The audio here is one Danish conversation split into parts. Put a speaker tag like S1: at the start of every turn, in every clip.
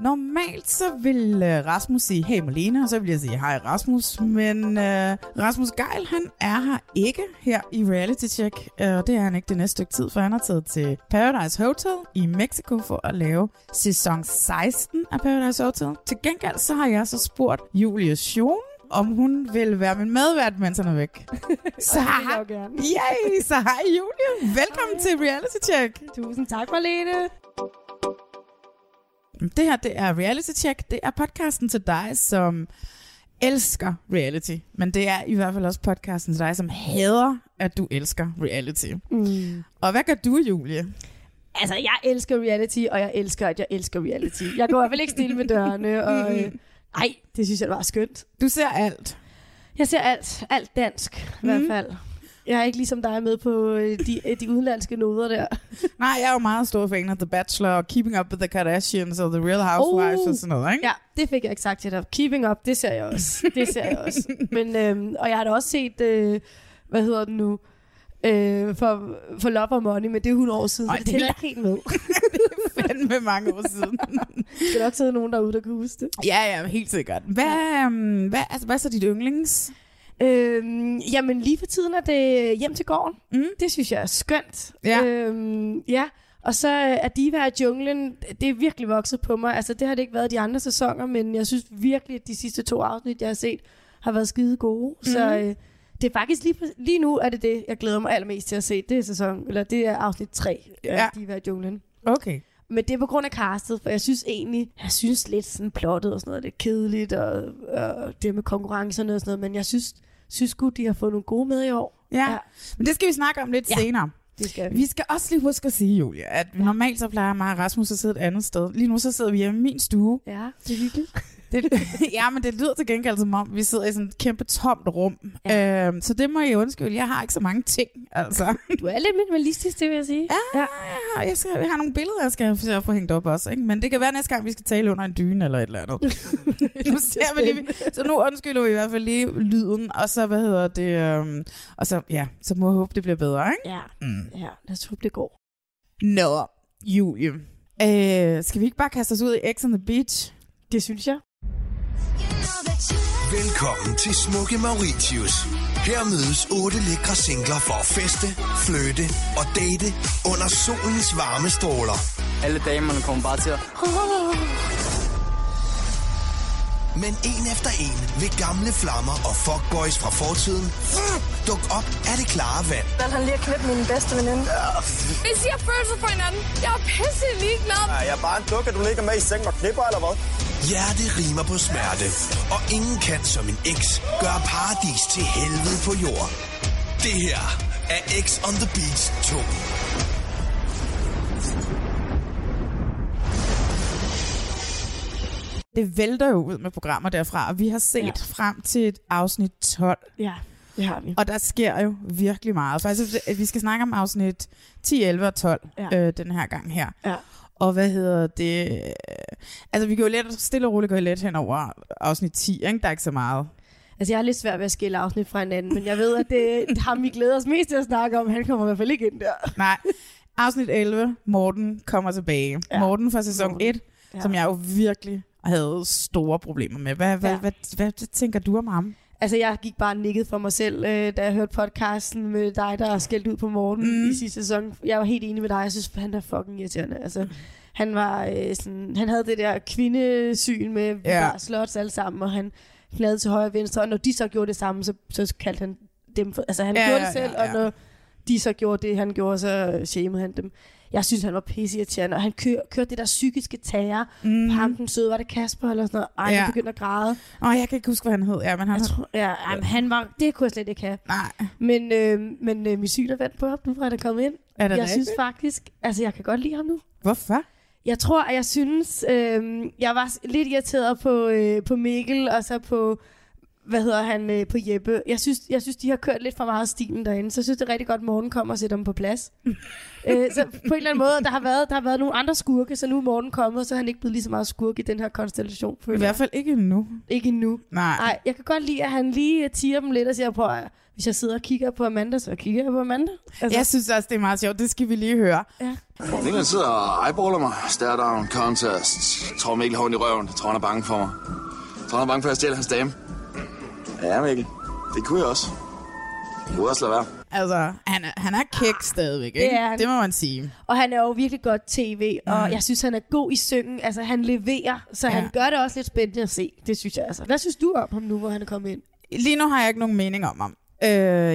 S1: Normalt så vil øh, Rasmus sige, hey Malene, og så vil jeg sige, hej Rasmus, men øh, Rasmus Geil, han er her ikke her i Reality Check, øh, og det er han ikke det næste stykke tid, for han er taget til Paradise Hotel i Mexico for at lave sæson 16 af Paradise Hotel. Til gengæld så har jeg så spurgt Julie Schoen, om hun vil være min medvært, mens han er væk. så,
S2: vil jeg
S1: har,
S2: jo gerne.
S1: yay, så hej Julie, velkommen til Reality Check.
S2: Tusind tak, Marlene.
S1: Det her, det er Reality Check. Det er podcasten til dig, som elsker reality. Men det er i hvert fald også podcasten til dig, som hader, at du elsker reality.
S2: Mm.
S1: Og hvad gør du, Julie?
S2: Altså, jeg elsker reality, og jeg elsker, at jeg elsker reality. Jeg går i hvert fald ikke stille med dørene, og... Øh, ej, det synes jeg var skønt.
S1: Du ser alt.
S2: Jeg ser alt, alt dansk, i hvert
S1: Mhm.
S2: fald. Jeg er ikke ligesom dig med på øh, de, øh, de udenlandske noder der.
S1: Nej, jeg er jo meget stor fan af The Bachelor og Keeping Up with the Kardashians og The Real Housewives
S2: Oh.
S1: og sådan noget, ikke?
S2: Ja, det fik jeg ikke sagt til dig. Keeping up, det ser jeg også. Det ser jeg også. Men, øhm, og jeg har da også set, øh, hvad hedder den nu, øh, for, for Love and Money, men det er 100 år siden,
S1: Ej,
S2: Ej,
S1: det
S2: altså, det
S1: er-
S2: tæller ikke helt med.
S1: Fandme mange år siden.
S2: Der skal nok sidde nogen derude, der kan huske det.
S1: ja, ja, helt sikkert. Hvad, øhm, hvad, altså, hvad er så dit yndlings?
S2: Øhm, jamen, lige for tiden er det hjem til gården.
S1: Mm.
S2: Det synes jeg er skønt.
S1: Ja. Øhm,
S2: Øhm, ja. Og så øh, er Diva og junglen, det er virkelig vokset på mig. Altså, det har det ikke været de andre sæsoner, men jeg synes virkelig, at de sidste to afsnit, jeg har set, har været skide gode. Mm. Så
S1: Mhm.
S2: øh, det er faktisk lige, præ- lige nu, er det det, jeg glæder mig allermest til at se. Det er, sæson, eller det er afsnit 3 af
S1: Ja.
S2: ja. Diva og junglen.
S1: Okay.
S2: Men det er på grund af castet, for jeg synes egentlig, jeg synes lidt sådan plottet og sådan noget, lidt kedeligt, og, og det med konkurrencerne og sådan noget, men jeg synes, synes godt, de har fået nogle gode med i år.
S1: Ja. ja.
S2: Ja.
S1: Men det skal vi snakke om lidt ja.
S2: Ja.
S1: senere.
S2: Det skal vi.
S1: Vi skal også lige huske at sige, Julia, at normalt så plejer mig og Rasmus at sidde et andet sted. Lige nu så sidder vi hjemme i min stue.
S2: Ja, det er hyggeligt.
S1: Det, ja, men det lyder til gengæld som om, vi sidder i sådan et kæmpe tomt rum. Ja. Øhm, så det må jeg undskylde. Jeg har ikke så mange ting, altså.
S2: Du er lidt minimalistisk, det vil jeg sige.
S1: Ja, jeg, har, jeg, skal, jeg har nogle billeder, jeg skal have- få hængt op også. Ikke? Men det kan være næste gang, vi skal tale under en dyne eller et eller andet. nu ser vi lige, så nu undskylder vi i hvert fald lige lyden, og så, hvad hedder det, øhm, og så, ja, så må jeg håbe, det bliver bedre, ikke?
S2: Ja,
S1: Mm.
S2: ja lad os håbe, det går.
S1: Nå, Julie. Øh, skal vi ikke bare kaste os ud i X on the Beach?
S2: Det synes jeg.
S3: Velkommen til Smukke Mauritius. Her mødes otte lækre singler for at feste, flytte og date under solens varme stråler.
S4: Alle damerne kommer bare til at...
S3: Men en efter en vil gamle flammer og fuckboys fra fortiden dukke op af det klare vand.
S5: at han lige har knippet min bedste veninde.
S6: Vi siger følelser for hinanden. Jeg er pisse ligeglad.
S7: Jeg er bare en duk, at du ligger med i sengen og knipper, eller hvad?
S3: Hjerte rimer på smerte, og ingen kan som en eks gøre paradis til helvede på jord. Det her er X on the Beach 2.
S1: Det vælter jo ud med programmer derfra, og vi har set ja.
S2: Ja.
S1: frem til et afsnit 12,
S2: Ja, det har vi.
S1: og der sker jo virkelig meget. Faktisk, at vi skal snakke om afsnit 10, 11 og 12 ja.
S2: Ja.
S1: øh, den her gang her.
S2: Ja.
S1: Og hvad hedder det? Altså, vi går jo let, stille og roligt går let hen over afsnit 10, ikke? Der er ikke så meget.
S2: Altså, jeg har lidt svært ved at skille afsnit fra hinanden, men jeg ved, at det ham, vi glæder os mest til at snakke om. Han kommer i hvert fald ikke ind der.
S1: Nej. Afsnit 11, Morten kommer tilbage. Ja.
S2: Ja.
S1: Morten fra sæson
S2: Morten.
S1: 1, ja. som jeg jo virkelig havde store problemer med. Hvad, hvad, ja.
S2: Ja.
S1: hvad, hvad, hvad tænker du om ham?
S2: Altså, jeg gik bare nikket for mig selv, øh, da jeg hørte podcasten med dig, der er skældt ud på Morten mm. i sidste sæson. Jeg var helt enig med dig. Jeg synes, han er fucking irriterende. Altså, han, var, øh, sådan, han havde det der kvindesyn med, vi
S1: Ja.
S2: yeah. slots alle sammen, og han lavede til højre og venstre. Og når de så gjorde det samme, så, så kaldte han dem for... Altså, han
S1: Ja,
S2: ja, gjorde
S1: ja,
S2: det selv,
S1: ja,
S2: ja,
S1: ja.
S2: ja. og når de så gjorde det, han gjorde, så shamede han dem. Jeg synes, han var pisseirriterende, og han kør, kørte det der psykiske terror mm. på ham, den søde, var det Kasper eller sådan noget. Ej,
S1: Ja.
S2: ja. jeg begyndte at græde.
S1: Åh, jeg kan ikke huske, hvad han hed. Ja, men han
S2: Jeg tror, ja, ej, men han var, det kunne jeg slet ikke have.
S1: Nej,
S2: Men, øh, men øh, min syn er vendt på ham, nu fra han er kommet ind.
S1: er det
S2: Jeg
S1: rigtigt?
S2: synes faktisk, altså jeg kan godt lide ham nu.
S1: Hvorfor?
S2: Jeg tror, at jeg synes, øh, jeg var s- lidt irriteret på, øh, på Mikkel, og så på, hvad hedder han, øh, på Jeppe. Jeg synes, jeg synes, de har kørt lidt for meget stilen derinde, så jeg synes, det er rigtig godt, at Morten kommer og sætter dem på plads. øh, så på en eller anden måde, der har, været, der har været nogle andre skurke, så nu er Morten kommet, og så er han ikke blevet lige så meget skurke i den her konstellation.
S1: I
S2: Føler. jeg.
S1: hvert fald ikke endnu.
S2: Ikke endnu.
S1: Nej.
S2: Nej, jeg kan godt lide, at han lige tiger dem lidt og siger, prøv at, høre, hvis jeg sidder og kigger på Amanda, så kigger jeg på Amanda. Altså,
S1: Jeg synes også, det er meget sjovt. Det skal vi lige høre.
S8: Niklas sidder og eyeballer mig. Stare down, contest. Jeg tror Mikkel har ondt i røven. Jeg tror, han er bange for mig. Jeg tror, han er bange for, at jeg stjæler hans dame. Ja, Mikkel. Det kunne jeg også. Jeg kunne også lade være.
S1: Altså, han er, han er kæk stadigvæk, ikke?
S2: Ah. Det er han.
S1: det må man sige.
S2: og han er jo virkelig godt tv, og jeg synes, han er god i syngen. Altså, han leverer, så Mm. ja. han gør det også lidt spændende at se. Det synes jeg altså. Hvad synes du om ham nu, hvor han er kommet ind?
S1: Lige nu har jeg ikke nogen mening om ham. Øh,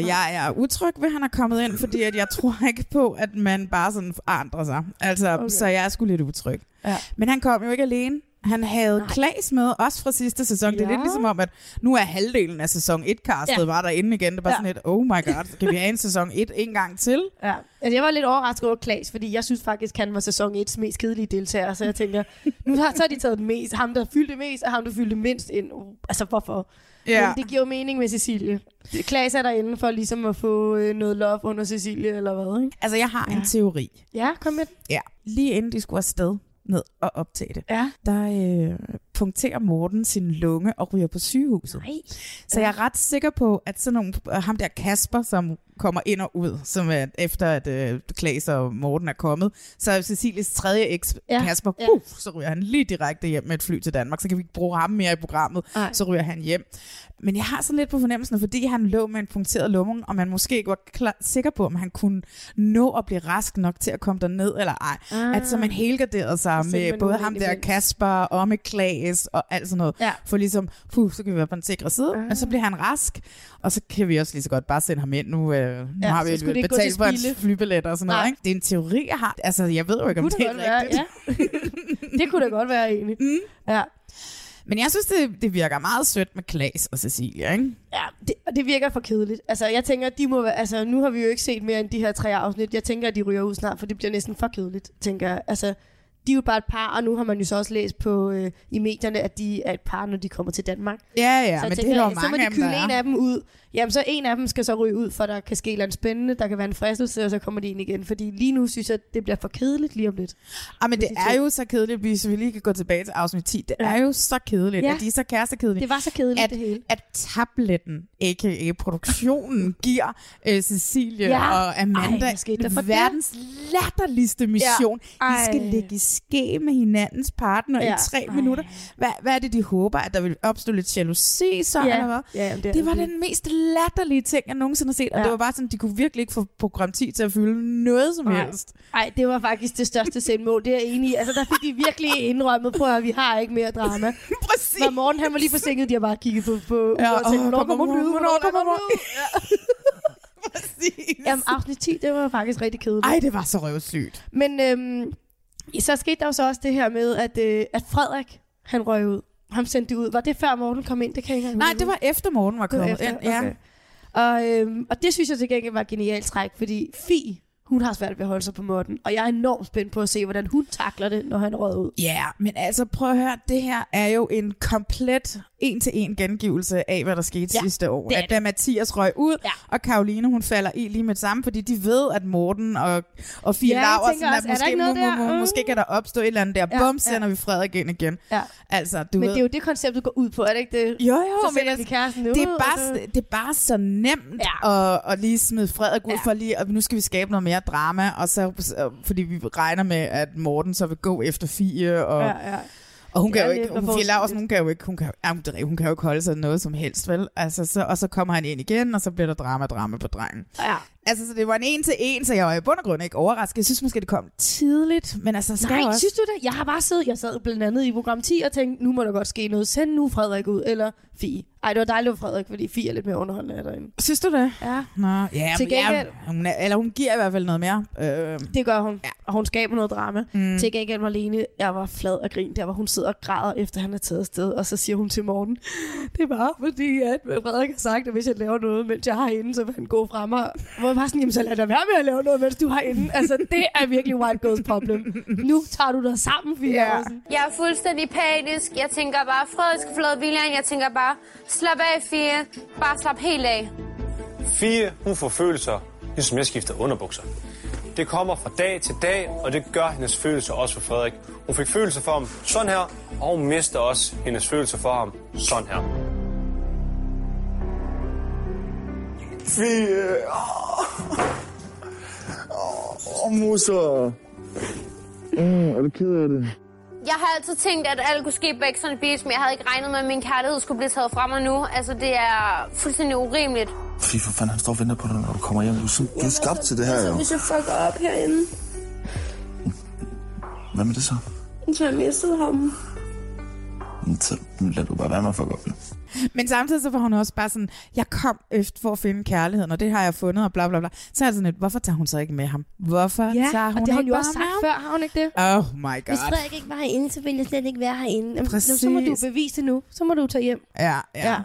S1: jeg er utryg ved, at han er kommet ind, fordi at jeg tror ikke på, at man bare sådan forandrer sig. Altså, okay.
S2: Okay.
S1: Så jeg er sgu lidt utryg.
S2: Ja.
S1: Men han kom jo ikke alene. Han havde Klaas med, også fra sidste sæson. Det er
S2: Ja.
S1: lidt ligesom om, at nu er halvdelen af sæson 1-castet ja.
S2: Ja.
S1: var derinde igen. Det var ja.
S2: Ja.
S1: sådan lidt, oh my god, kan vi have en sæson 1 en gang til?
S2: Ja. Altså, jeg var lidt overrasket over Klaas, fordi jeg synes faktisk, han var sæson 1's mest kedelige deltager. Så jeg tænker, nu har, så har de taget den mest, ham, der fyldte mest, og ham, der fyldte mindst ind. Uh, altså, hvorfor? Ja. Men det giver jo mening med Cecilie. Klaas er derinde for ligesom at få øh, noget love under Cecilie, eller hvad, ikke?
S1: Altså, jeg har ja. en teori.
S2: Ja, kom med den.
S1: Ja. Lige inden de skulle afsted ned og optage det,
S2: Ja.
S1: der øh, punkterer Morten sin lunge og ryger på sygehuset.
S2: Nej.
S1: Så jeg er ret sikker på, at sådan nogle, og ham der Kasper, som kommer ind og ud, som er efter at øh, Klaas og Morten er kommet, så er Cecilies tredje eks, ja.
S2: Ja,
S1: Kasper,
S2: ja.
S1: puff, så ryger han lige direkte hjem med et fly til Danmark, så kan vi ikke bruge ham mere i programmet,
S2: Ej.
S1: så ryger han hjem. Men jeg har sådan lidt på fornemmelsen, at fordi han lå med en punkteret lunge, og man måske ikke var klar, sikker på, om han kunne nå at blive rask nok til at komme derned eller ej, ah.
S2: Ah.
S1: at så man helgarderede sig
S2: Så sendte
S1: med
S2: man
S1: både
S2: nogen
S1: ham
S2: ind
S1: der
S2: imens.
S1: Kasper og med Klaas og alt sådan noget.
S2: Ja.
S1: For ligesom, puh, så kan vi være på den sikre side, uh.
S2: Ah.
S1: og så bliver han rask, og så kan vi også lige så godt bare sende ham ind. Nu, øh, nu
S2: Ja,
S1: har vi
S2: så skulle det ikke gå
S1: betalt
S2: til
S1: for hans
S2: spilde.
S1: flybillet og sådan noget.
S2: Nej.
S1: Ikke? Det er en teori, jeg har. Altså, jeg ved jo ikke, om
S2: Kunne
S1: det,
S2: det,
S1: er
S2: godt være,
S1: rigtigt.
S2: ja. det kunne da godt være, egentlig. Mm. Ja.
S1: Men jeg synes, det, det virker meget sødt med Klaas og Cecilia, ikke?
S2: Ja, det, og det virker for kedeligt. Altså, jeg tænker, de må være, altså, nu har vi jo ikke set mere end de her tre afsnit. Jeg tænker, at de ryger ud snart, for det bliver næsten for kedeligt, tænker jeg. Altså, de er jo bare et par, og nu har man jo så også læst på, øh, i medierne, at de er et par, når de kommer til Danmark.
S1: Ja, ja,
S2: så jeg
S1: men det
S2: tænker,
S1: er der jo
S2: så må
S1: mange af
S2: de
S1: dem, der
S2: kylde en
S1: er.
S2: af dem ud. Jamen, så en af dem skal så ryge ud, for der kan ske et eller andet spændende, der kan være en fristelse, og så kommer de ind igen. Fordi lige nu synes jeg, det bliver for kedeligt lige om lidt.
S1: Ah, men det
S2: de
S1: er
S2: to.
S1: jo så kedeligt, hvis vi lige kan gå tilbage til afsnit 10. Det er jo så kedeligt, ja.
S2: Ja.
S1: at de er så kærestekedelige.
S2: Det var så kedeligt,
S1: at,
S2: det hele.
S1: at tabletten, a.k.a. produktionen, giver øh, Cecilie ja.
S2: Ja.
S1: og Amanda
S2: Ej, hvad skete der for det?
S1: verdens latterligste mission.
S2: Ja.
S1: Ja. De skal
S2: Ej.
S1: ligge i ske med hinandens partner ja. i
S2: Ja.
S1: tre Ej.
S2: Ej.
S1: minutter. Hvad, hvad er det, de håber? At der vil opstå lidt jalousi så,
S2: Ja.
S1: eller hvad?
S2: Ja, jamen, det er
S1: det var
S2: det.
S1: den mest latterlige ting, jeg nogensinde har set. Og
S2: Ja.
S1: det var bare sådan, de kunne virkelig ikke få program 10 til at fylde noget som
S2: Nej.
S1: helst.
S2: Nej, det var faktisk det største selvmål, det er jeg enig i. Altså, der fik de virkelig indrømmet, prøv at høre, vi har ikke mere drama.
S1: Præcis.
S2: Når morgen han var lige forsinket, de har bare kigget på, på
S1: Ja,
S2: ja, og tænkt,
S1: åh,
S2: hvornår
S1: kommer
S2: kommer
S1: hun
S2: hun
S1: ud?
S2: ud?
S1: Hvornår
S2: Hvornår kommer hun
S1: kommer
S2: ud?
S1: Præcis.
S2: Jamen, afsnit 10, det var faktisk rigtig kedeligt.
S1: Ej, det var så røvsygt.
S2: Men øhm, så skete der jo så også det her med, at, øh, at Frederik, han røg ud. Ham sendte de ud. Var det før Morten kom ind? Det kan jeg ikke engang
S1: Nej,
S2: huske.
S1: det var efter morgen var
S2: Det var
S1: kommet.
S2: efter,
S1: ind. Ja.
S2: okay. Og, øhm, og det synes jeg til gengæld var et genialt træk, fordi Fi, hun har svært ved at holde sig på Morten, og jeg er enormt spændt på at se, hvordan hun takler det, når han røg ud.
S1: Ja, yeah, men altså prøv at høre, det her er jo en komplet en-til-en gengivelse af, hvad der skete ja,
S2: Ja,
S1: sidste år.
S2: det er
S1: At da Mathias røg ud, ja.
S2: Ja.
S1: og Karoline hun falder i lige med det samme, fordi de ved, at Morten og, og Fie
S2: Ja,
S1: ja,
S2: jeg
S1: Laversen,
S2: tænker
S1: at
S2: også, er der
S1: måske,
S2: ikke noget
S1: mu- mu-
S2: der?
S1: mu-
S2: Mm.
S1: måske kan der opstå et eller andet der. Ja,
S2: Ja,
S1: Bum,
S2: ja.
S1: sender vi Frederik ind igen.
S2: Ja.
S1: Altså, du
S2: Men
S1: ved.
S2: det er jo det konceptet går ud på, er det ikke det?
S1: jo, jo,
S2: så
S1: men altså,
S2: sender vi kæresten ud. altså.
S1: det er,
S2: og
S1: bare,
S2: så...
S1: det er bare så nemt ja. at, at lige smide Frederik ud ja. for lige, at nu skal vi skabe noget mere drama, og så, fordi vi regner med, at Morten så vil gå efter Fie, og, ja.
S2: Ja, ja.
S1: Og hun
S2: Det
S1: kan
S2: er
S1: jo
S2: lidt,
S1: ikke,
S2: man
S1: hun,
S2: får
S1: Fie
S2: sådan
S1: Larsen, hun kan jo ikke, hun kan, jo- jamen, det er rigtigt, hun kan jo ikke holde sig noget som helst, vel? Altså, så, og så kommer han ind igen, og så bliver der drama, drama på drengen.
S2: Ja.
S1: Altså, så det var en en til en, så jeg var i bund og grund ikke overrasket. Jeg synes måske, det kom tidligt, men altså, skal
S2: Nej,
S1: jeg også...
S2: synes du det? Jeg har bare siddet, jeg sad blandt andet i program 10 og tænkte, nu må der godt ske noget. Send nu Frederik ud, eller Fie. Ej, det var dejligt for Frederik, fordi Fie er lidt mere underholdende af derinde.
S1: Synes du det?
S2: Ja,
S1: Nå, ja,
S2: Til
S1: men ja,
S2: gengæld-
S1: hun er, eller hun giver i hvert fald noget mere. Øh,
S2: det gør hun. Ja. Og hun skaber noget drama. Mm. Til gengæld Marlene, jeg var flad og grin, der hvor hun sidder og græder, efter han er taget afsted. Og så siger hun til Morten, det er bare fordi, at Frederik har sagt, at hvis jeg laver noget, mens jeg har hende, så vil han gå fra mig. Hvor jeg bare sådan, jamen så lad da være med at lave noget, mens du har hende. Altså, det er virkelig white girls problem. Nu tager du dig sammen, Fie.
S1: Ja.
S2: Andersen.
S6: Jeg er fuldstændig panisk. Jeg tænker bare, Frederik skal forlade villaen. Jeg tænker bare, slap af, Fie. Bare slap helt af.
S9: Fie, hun får følelser, ligesom jeg skifter underbukser. Det kommer fra dag til dag, og det gør hendes følelser også for Frederik. Hun fik følelser for ham sådan her, og hun mister også hendes følelser for ham sådan her.
S8: Fie. Åh, oh, muser. Mm, er du ked af det?
S6: Jeg har altid tænkt, at alt kunne ske på Ex on the Beach, men jeg havde ikke regnet med, at min kærlighed skulle blive taget fra mig nu. Altså, det er fuldstændig urimeligt.
S8: Fie, for fanden, han står og venter på dig, når du kommer hjem. Du er, sådan, du er skabt til det her, jo.
S6: jeg fucker op herinde,
S8: Hvad med det så?
S6: så har jeg mistet ham.
S8: Men Så lad du bare være med at fuck op. jo.
S1: Men samtidig så var hun også bare sådan, jeg kom efter for at finde kærligheden, og det har jeg fundet, og bla bla bla. Så er jeg sådan lidt, hvorfor tager hun så ikke med ham? Hvorfor tager hun
S2: og det har hun
S1: ikke
S2: jo
S1: bare
S2: også sagt
S1: med
S2: før, har hun ikke det?
S1: ham? Oh my
S2: Hvis
S1: god.
S2: Frederik ikke var herinde, så ville jeg slet ikke være herinde. Jamen, nu,
S1: Præcis.
S2: så må du bevise det nu. Så må du tage hjem.
S1: Ja, ja.
S2: Ja.
S1: ja.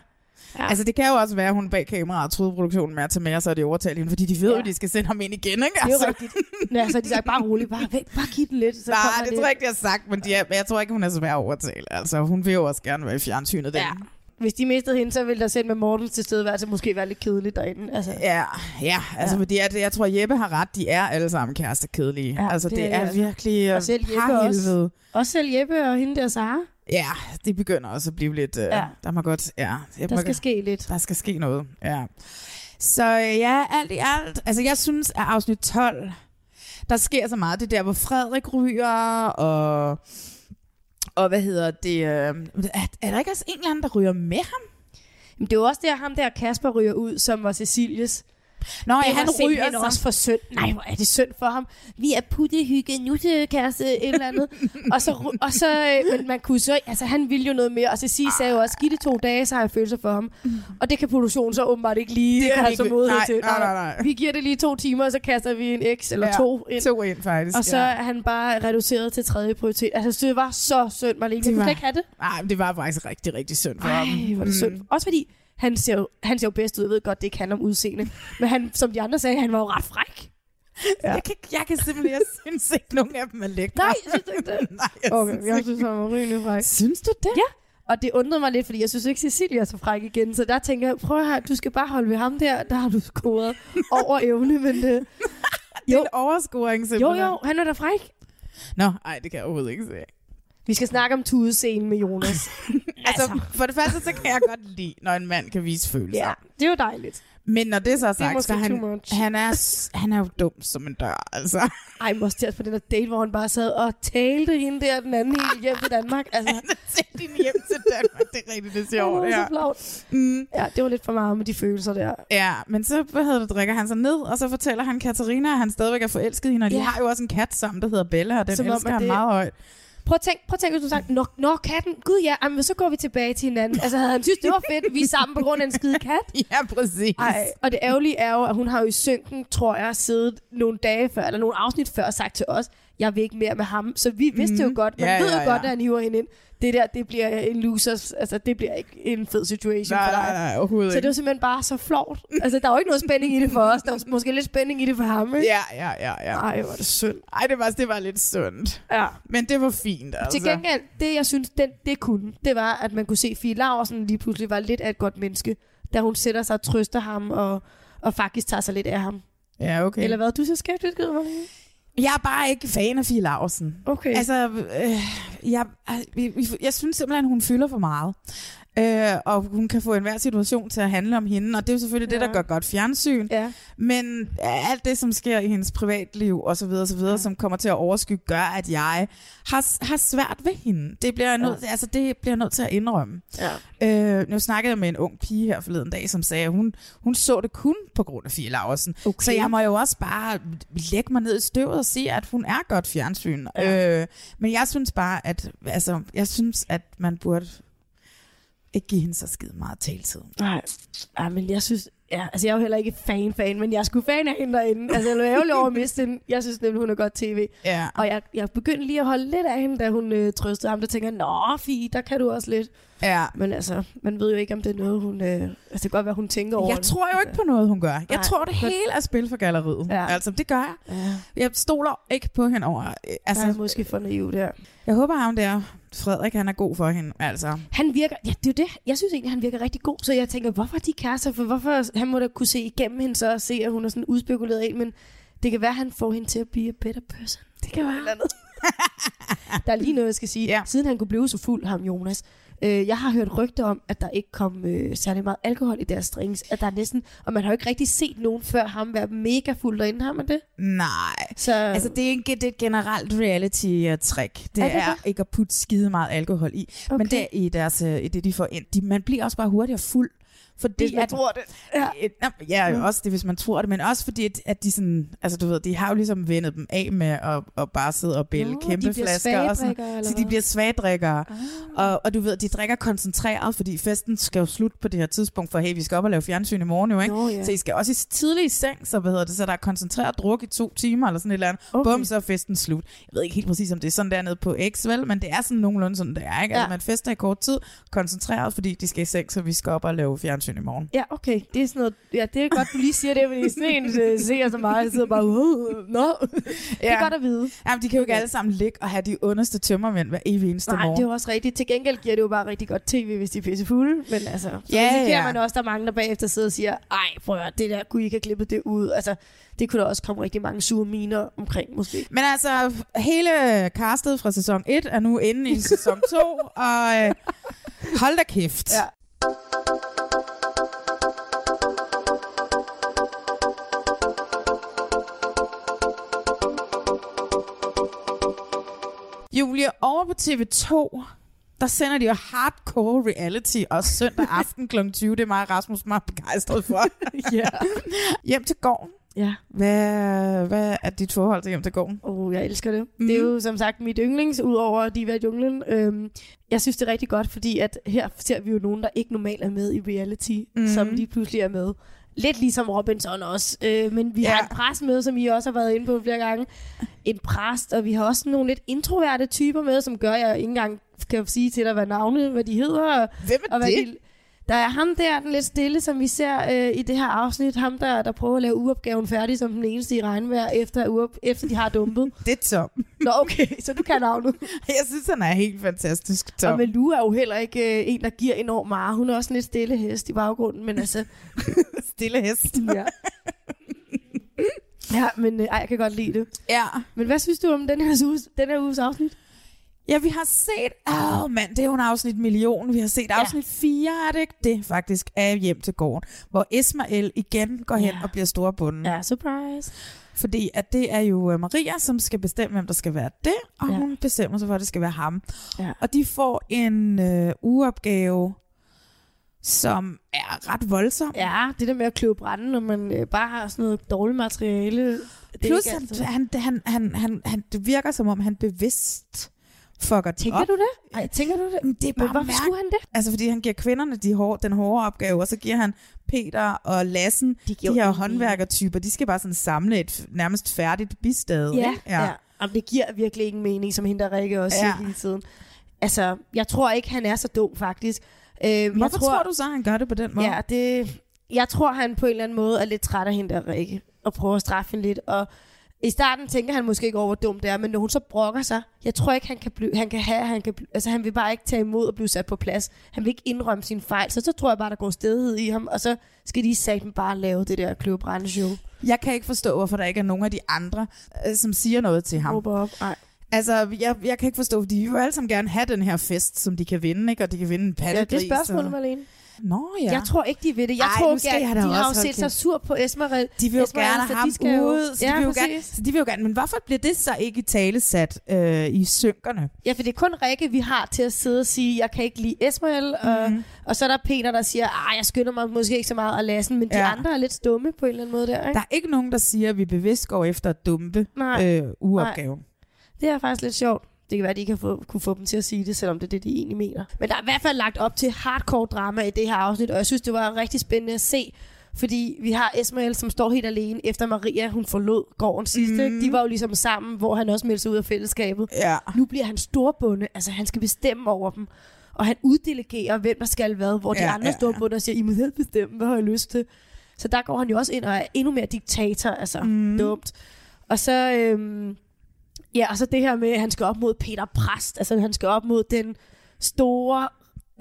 S2: Ja.
S1: Altså det kan jo også være, at hun bag kameraet troede produktionen med at tage med, og så er det overtalt hende, fordi de ved jo, at de skal sende ham ind igen, ikke? Altså,
S2: Det er jo rigtigt. Ja, så har de sagt, bare rolig, bare, væk, bare giv den lidt. Så
S1: Nej,
S2: kommer
S1: det tror jeg ikke, de har sagt, men, de er, men jeg tror ikke, hun er så svær at overtale. Altså, hun vil jo også gerne være i fjernsynet.
S2: Ja.
S1: Ja.
S2: Hvis de mistede hende, så ville der selv med Mortens tilstedeværelse måske være lidt kedeligt derinde. Altså,
S1: Ja, ja, altså ja. fordi at, jeg tror, Jeppe har ret. De er alle sammen kærester kedelige.
S2: Ja,
S1: Ja, altså,
S2: det
S1: det,
S2: er
S1: det
S2: de
S1: er,
S2: altså.
S1: virkelig
S2: Og selv Jeppe
S1: parhelvede.
S2: også selv Jeppe og hende der Sara.
S1: Ja, det begynder også at blive lidt... Øh,
S2: Ja.
S1: ja. Der må godt... Ja, jeg
S2: Der
S1: må-
S2: skal ske lidt.
S1: der skal ske noget. Ja. Så øh, ja, alt i alt. Altså, jeg synes, at afsnit 12, der sker så meget. Det er der, hvor Frederik ryger, og... Og hvad hedder det? Øh, er, er der ikke også en eller anden, der ryger med ham?
S2: Men det er jo også der, ham der Kasper ryger ud, som var Cecilies.
S1: Nå,
S2: Det
S1: ja, han
S2: var simpelthen
S1: ryger sig.
S2: også for synd. Nej, hvor er det synd for ham. Vi er puttehygge, nu til kæreste, et eller andet. og så, ru- og så øh, men man kunne så, altså han ville jo noget mere. Og Cecilie
S1: Ah.
S2: sagde jo også, giv det to dage, så har jeg følelser for ham. Og det kan produktionen så åbenbart ikke lige
S1: Mm. Det kan de
S2: have som
S1: ikke-
S2: modhed
S1: nej,
S2: til.
S1: nej, nej, nej.
S2: Vi giver det lige to timer, og så kaster vi en X eller
S1: Ja,
S2: to ind.
S1: To ind, faktisk.
S2: Og så er han bare reduceret til tredje prioritet. Altså, det var så synd, Marlene.
S1: Det
S2: Jeg kunne
S1: var-
S2: slet ikke have det.
S1: Nej, men det mm. var faktisk rigtig, rigtig synd for ham.
S2: Ej, hvor er det synd. Også fordi, han ser, jo, han ser jo bedst ud. Jeg ved godt, det kan om udseende. Men han, som de andre sagde, han var jo ret fræk.
S1: Ja. Jeg, kan, ikke- jeg kan simpelthen, jeg synes ikke, nogen af dem er lækre.
S2: Nej, jeg synes ikke Altså, det.
S1: Nej, jeg
S2: Okay,
S1: synes
S2: jeg
S1: ikke.
S2: synes, han var rimelig fræk.
S1: Synes du det?
S2: Ja. Altså, Og det undrede mig lidt, fordi jeg synes ikke, Cecilia er så fræk igen. Så der tænker jeg, prøv her, du skal bare holde ved ham der. Der har du scoret over evne, men det...
S1: Det er en overscoring,
S2: Jo,
S1: simpelthen.
S2: jo, han er da fræk.
S1: Nå, nej, det kan jeg overhovedet ikke se.
S2: Vi skal snakke om tudescenen med Jonas.
S1: Altså, for det første, så kan jeg godt lide, når en mand kan vise følelser.
S2: ja, det er jo dejligt.
S1: Men når det så er
S2: Det er
S1: sagt,
S2: måske
S1: så er
S2: too
S1: han,
S2: much.
S1: han, er, s- han er jo dum som en dør, altså.
S2: Ej, men også også på den der date, hvor han bare sad og talte hende der, den anden helt hjem til Danmark. Altså,
S1: Send din hjem til Danmark, det er rigtigt, det er
S2: det
S1: sjovt.
S2: var
S1: Ja.
S2: så flavt.
S1: Mm.
S2: Ja, det var lidt for meget med de følelser der.
S1: ja, men så hvad hedder det, drikker han sig ned, og så fortæller han Katarina, at han stadigvæk er forelsket i hende, og de
S2: Ja.
S1: har jo også en kat sammen, der hedder Bella, og den
S2: Som om,
S1: elsker
S2: at
S1: han
S2: det-
S1: meget højt.
S2: Prøv at tænke, prøv at tænke hvis du sagde, nå, nå, katten, gud ja, jamen, så går vi tilbage til hinanden. Altså, havde han synes, det var fedt, vi er sammen på grund af en skide kat.
S1: Ja, præcis.
S2: Ej, og det ærgerlige er jo, at hun har jo i synken, tror jeg, siddet nogle dage før, eller nogle afsnit før, og sagt til os, jeg vil ikke mere med ham. Så vi vidste jo godt, man
S1: Mhm. Ja,
S2: ved jo
S1: ja, ja.
S2: godt, at han hiver hende ind. Det der, det bliver en losers, altså det bliver ikke en fed situation
S1: Nej,
S2: for dig.
S1: nej, nej, overhovedet
S2: Så det
S1: ikke.
S2: var simpelthen bare så flot. Altså, der var ikke noget spænding i det for os. Der var måske lidt spænding i det for ham, ikke?
S1: Ja, ja, ja, ja.
S2: Ej, hvor er det synd.
S1: Ej, det var, det var lidt sundt.
S2: Ja.
S1: Men det var fint, altså.
S2: Til gengæld, det jeg synes, den, det kunne, det var, at man kunne se, at Fie Laversen lige pludselig var lidt af et godt menneske, da hun sætter sig og trøster ham og, og faktisk tager sig lidt af ham. Okay.
S1: Ja, okay.
S2: Eller hvad? Du ser skeptisk ud, Marie.
S1: Jeg er bare ikke fan af Fie Larsen.
S2: Okay. Altså,
S1: Altså, øh, jeg, jeg, jeg synes simpelthen, hun fylder for meget. Øh, og hun kan få enhver situation til at handle om hende, og det er jo selvfølgelig ja. det, der gør godt fjernsyn.
S2: Ja.
S1: Men alt det, som sker i hendes privatliv osv., osv., ja. som kommer til at overskygge, gør, at jeg har, har svært ved hende. Det bliver jeg nødt, ja. altså, det bliver jeg nødt til at indrømme. Ja. Øh, nu snakkede jeg med en ung pige her forleden dag, som sagde, at hun, hun så det kun på grund af Fie Laversen. Okay. Så jeg må jo også bare lægge mig ned i støvet og se, at hun er godt fjernsyn. Ja. Øh, men jeg synes bare, at, altså, jeg synes, at man burde ikke give hende så skide meget taltid.
S2: Nej, Ej, men jeg synes... Ja, altså jeg er jo heller ikke fan-fan, men jeg er sgu fan af hende derinde. Altså jeg er ærgerlig over at miste hende. Jeg synes nemlig, hun er godt tv.
S1: Ja.
S2: Og jeg, jeg begyndte lige at holde lidt af hende, da hun øh, trøstede ham. Der tænker jeg, nå Fie, der kan du også lidt.
S1: Ja.
S2: Men altså, man ved jo ikke, om det er noget, hun... Øh, altså det kan godt være, hun tænker over
S1: Jeg
S2: det.
S1: tror jo ikke på noget, hun gør. Jeg
S2: Nej,
S1: tror, det
S2: men-
S1: hele er spil for galleriet.
S2: Ja.
S1: Altså, det gør jeg.
S2: Ja.
S1: Jeg stoler ikke på hende over. øh, Altså,
S2: Jeg er måske for naiv der.
S1: Jeg håber, ham der, Frederik, han er god for hende. Altså.
S2: Han virker, ja, det er jo det. Jeg synes egentlig, han virker rigtig god, så jeg tænker, hvorfor er de kærester? For hvorfor, han må da kunne se igennem hende så og se, at hun er sådan udspekuleret en, men det kan være, at han får hende til at blive a better person. Det kan være. Andet. der er lige noget, jeg skal sige. Ja. Siden han kunne blive så fuld, ham Jonas. Øh, jeg har hørt rygter om, at der ikke kom øh, særlig meget alkohol i deres drinks. At der er næsten, og man har jo ikke rigtig set nogen før ham være mega fuld derinde, har man det?
S1: Nej.
S2: Så,
S1: Altså, det er, en, det er et generelt reality-trick. Det
S2: Er
S1: er,
S2: det
S1: det er
S2: det?
S1: ikke at putte skide meget alkohol i. Okay. Men det er i, deres, øh, i det, de får ind. De, man bliver også bare hurtigere fuld. Fordi
S2: Hvis man
S1: at,
S2: tror det.
S1: Ja, ja
S2: Mm.
S1: jo, også det, hvis man tror det. Men også fordi, at, at de sådan... Altså, du ved, de har jo ligesom vendet dem af med at, at bare sidde og bælge
S2: Nå, de
S1: kæmpe
S2: bliver
S1: flasker. Og sådan,
S2: svagdrikkere, eller
S1: så de
S2: hvad?
S1: bliver svagdrikkere. Ah. Og, og du ved, de drikker koncentreret, fordi festen skal jo slutte på det her tidspunkt, for hey, vi skal op og lave fjernsyn i morgen jo, ikke?
S2: Nå, ja.
S1: Så I skal også i tidlig i seng, så hvad hedder det, så der er koncentreret druk i to timer eller sådan et eller andet. Okay. Bum, så er festen slut. Jeg ved ikke helt præcis, om det er sådan dernede på X, vel? Men det er sådan nogenlunde sådan, det er, ikke? Ja.
S2: Ja.
S1: Altså, man fester i kort tid, koncentreret, fordi de skal i seng, så vi skal op og lave fjernsyn i morgen.
S2: Ja, okay. Det er sådan noget, ja, det er godt, du lige siger det, fordi sådan en øh, ser så meget, jeg sidder bare, uh, nå. Det er
S1: Ja.
S2: godt at vide.
S1: Jamen, de kan jo ikke alle sammen ligge og have de underste tømmermænd hver evig eneste
S2: Nej,
S1: morgen.
S2: det er jo også rigtigt. Til gengæld giver det jo bare rigtig godt tv, hvis de er pisse fulde. Men altså, så
S1: Ja,
S2: risikerer
S1: ja.
S2: man også, der er mange, der bagefter sidder og siger, ej, prøv at høre, det der, kunne I ikke have klippet det ud. Altså, det kunne der også komme rigtig mange sure miner omkring, måske.
S1: Men altså, hele castet fra sæson 1 er nu inde i sæson 2, og øh, hold da kæft. Ja. Julie, over på TV2, der sender de jo hardcore reality, og søndag aften kl. 20, det er mig og Rasmus meget begejstret for.
S2: Ja.
S1: Hjem til gården.
S2: Ja.
S1: Hvad, hvad er dit forhold til hjem til gården?
S2: Oh, jeg elsker det. Mm. Det er
S1: Mhm.
S2: jo som sagt mit yndlings, udover Diva i junglen. Øhm, jeg synes, det er rigtig godt, fordi at her ser vi jo nogen, der ikke normalt er med i reality, mm.
S1: Mhm.
S2: som lige pludselig er med. Lidt ligesom Robinson også. Øh, men vi ja. har en præst med, som I også har været inde på flere gange. En præst, og vi har også nogle lidt introverte typer med, som gør, at jeg ikke engang kan sige til dig, hvad navnet, hvad de hedder. og-
S1: Hvem er
S2: og hvad
S1: det?
S2: de, der er ham der, den lidt stille, som vi ser øh, i det her afsnit. Ham der, der prøver at lave uopgaven færdig som den eneste i regnvejr, efter, uop, efter de har dumpet.
S1: Det er Tom.
S2: Nå, okay, så du kan navnet.
S1: Jeg synes, han er helt fantastisk, Tom.
S2: Og Malou er jo heller ikke øh, en, der giver enormt meget. Hun er også en lidt stille hest i baggrunden, men altså...
S1: Stille hest.
S2: Ja. Ja, men øh, ej, jeg kan godt lide det.
S1: Ja.
S2: Men hvad synes du om den her uges, den her uges afsnit?
S1: Ja, vi har set... Åh, oh, mand, det er jo en afsnit million. Vi har set afsnit ja. 4, er det ikke? Det er faktisk af hjem til gården, hvor Ismael igen går hen
S2: Ja.
S1: ja. og bliver storbunden.
S2: Ja, surprise.
S1: Fordi at det er jo øh, Maria, som skal bestemme, hvem der skal være det, og
S2: Ja.
S1: ja. hun bestemmer sig for, at det skal være ham.
S2: Ja.
S1: Og de får en øh, ugeopgave, som er ret voldsom.
S2: Ja, det der med at kløve branden, når man øh, bare har sådan noget dårligt materiale. det er
S1: Plus,
S2: ikke
S1: han,
S2: altid-
S1: han, han, han, han, han, det virker som om, han bevidst fucker den
S2: Tænker
S1: op.
S2: du det? Ej, tænker du det?
S1: Jamen, det er
S2: Men
S1: bare
S2: hvorfor skulle han det?
S1: Altså, fordi han giver kvinderne de hårde, den hårde opgave, og så giver han Peter og Lassen, de,
S2: giver
S1: de her
S2: jo-
S1: håndværkertyper, de skal bare sådan samle et f- nærmest færdigt bistad.
S2: Ja,
S1: ikke?
S2: ja. ja. Jamen, det giver virkelig ingen mening, som hende der Rikke også ja.
S1: Ja.
S2: siger hele tiden. Altså, jeg tror ikke, han er så dum, faktisk. Øh, jeg
S1: Hvorfor tror, tror du så, han gør det på den måde?
S2: Ja, det, jeg tror, han på en eller anden måde er lidt træt af hende der Rikke, og prøver at straffe hende lidt. Og i starten tænker han måske ikke over, hvor dumt det er, men når hun så brokker sig, jeg tror ikke, han kan, blive, han kan have, han kan blive, altså han vil bare ikke tage imod og blive sat på plads. Han vil ikke indrømme sin fejl, så så tror jeg bare, der går stedighed i ham, og så skal de satme bare lave det der kløvebrænde show.
S1: Jeg kan ikke forstå, hvorfor der ikke er nogen af de andre, øh, som siger noget til ham.
S2: Råber op. Ej.
S1: Altså, jeg, jeg kan ikke forstå, fordi de vil jo alle sammen gerne have den her fest, som de kan vinde, ikke? Og de kan vinde en
S2: Ja,
S1: pattegris.
S2: det er spørgsmålet,
S1: og-
S2: Malene.
S1: Nå ja.
S2: Jeg tror ikke, de ved det. Jeg
S1: Ej,
S2: tror
S1: nu skal
S2: ikke,
S1: jeg
S2: at
S1: da
S2: de
S1: også
S2: har jo
S1: holde
S2: set sig
S1: kæft.
S2: sur på Esmeralda.
S1: De vil jo
S2: Esmeralda,
S1: gerne have
S2: så
S1: ham
S2: altså, de skal jo-
S1: ud, så,
S2: ja,
S1: de vil jo gerne,
S2: præcis.
S1: så de vil jo gerne... Men hvorfor bliver det så ikke talesat øh, i synkerne?
S2: Ja, for det er kun Rikke, vi har til at sidde og sige, jeg kan ikke lide Esmael,
S1: Mm. Mhm.
S2: mm-hmm. og, og så er der Peter, der siger, ah, jeg skynder mig måske ikke så meget af Lassen, men de
S1: Ja.
S2: ja. andre er lidt stumme på en eller anden måde der, ikke?
S1: Der er ikke nogen, der siger, at vi bevidst går efter at dumpe
S2: Nej.
S1: øh, uopgaven.
S2: Det er faktisk lidt sjovt. Det kan være, at de ikke har få, kunne få dem til at sige det, selvom det er det, de egentlig mener. Men der er i hvert fald lagt op til hardcore drama i det her afsnit, og jeg synes, det var rigtig spændende at se, fordi vi har Esmael, som står helt alene, efter Maria, hun forlod gården sidste. Mm. De var jo ligesom sammen, hvor han også meldte sig ud af fællesskabet.
S1: Ja.
S2: Nu bliver han storbunde, altså han skal bestemme over dem. Og han uddelegerer, hvem der skal hvad, hvor de
S1: Ja,
S2: ja, andre
S1: ja,
S2: ja,
S1: ja.
S2: storbunde siger, I må selv bestemme, hvad har jeg lyst til. Så der går han jo også ind og er endnu mere diktator, altså
S1: Mhm.
S2: mm. dumt. Og så, øhm, ja, og så det her med, at han skal op mod Peter Præst, altså han skal op mod den store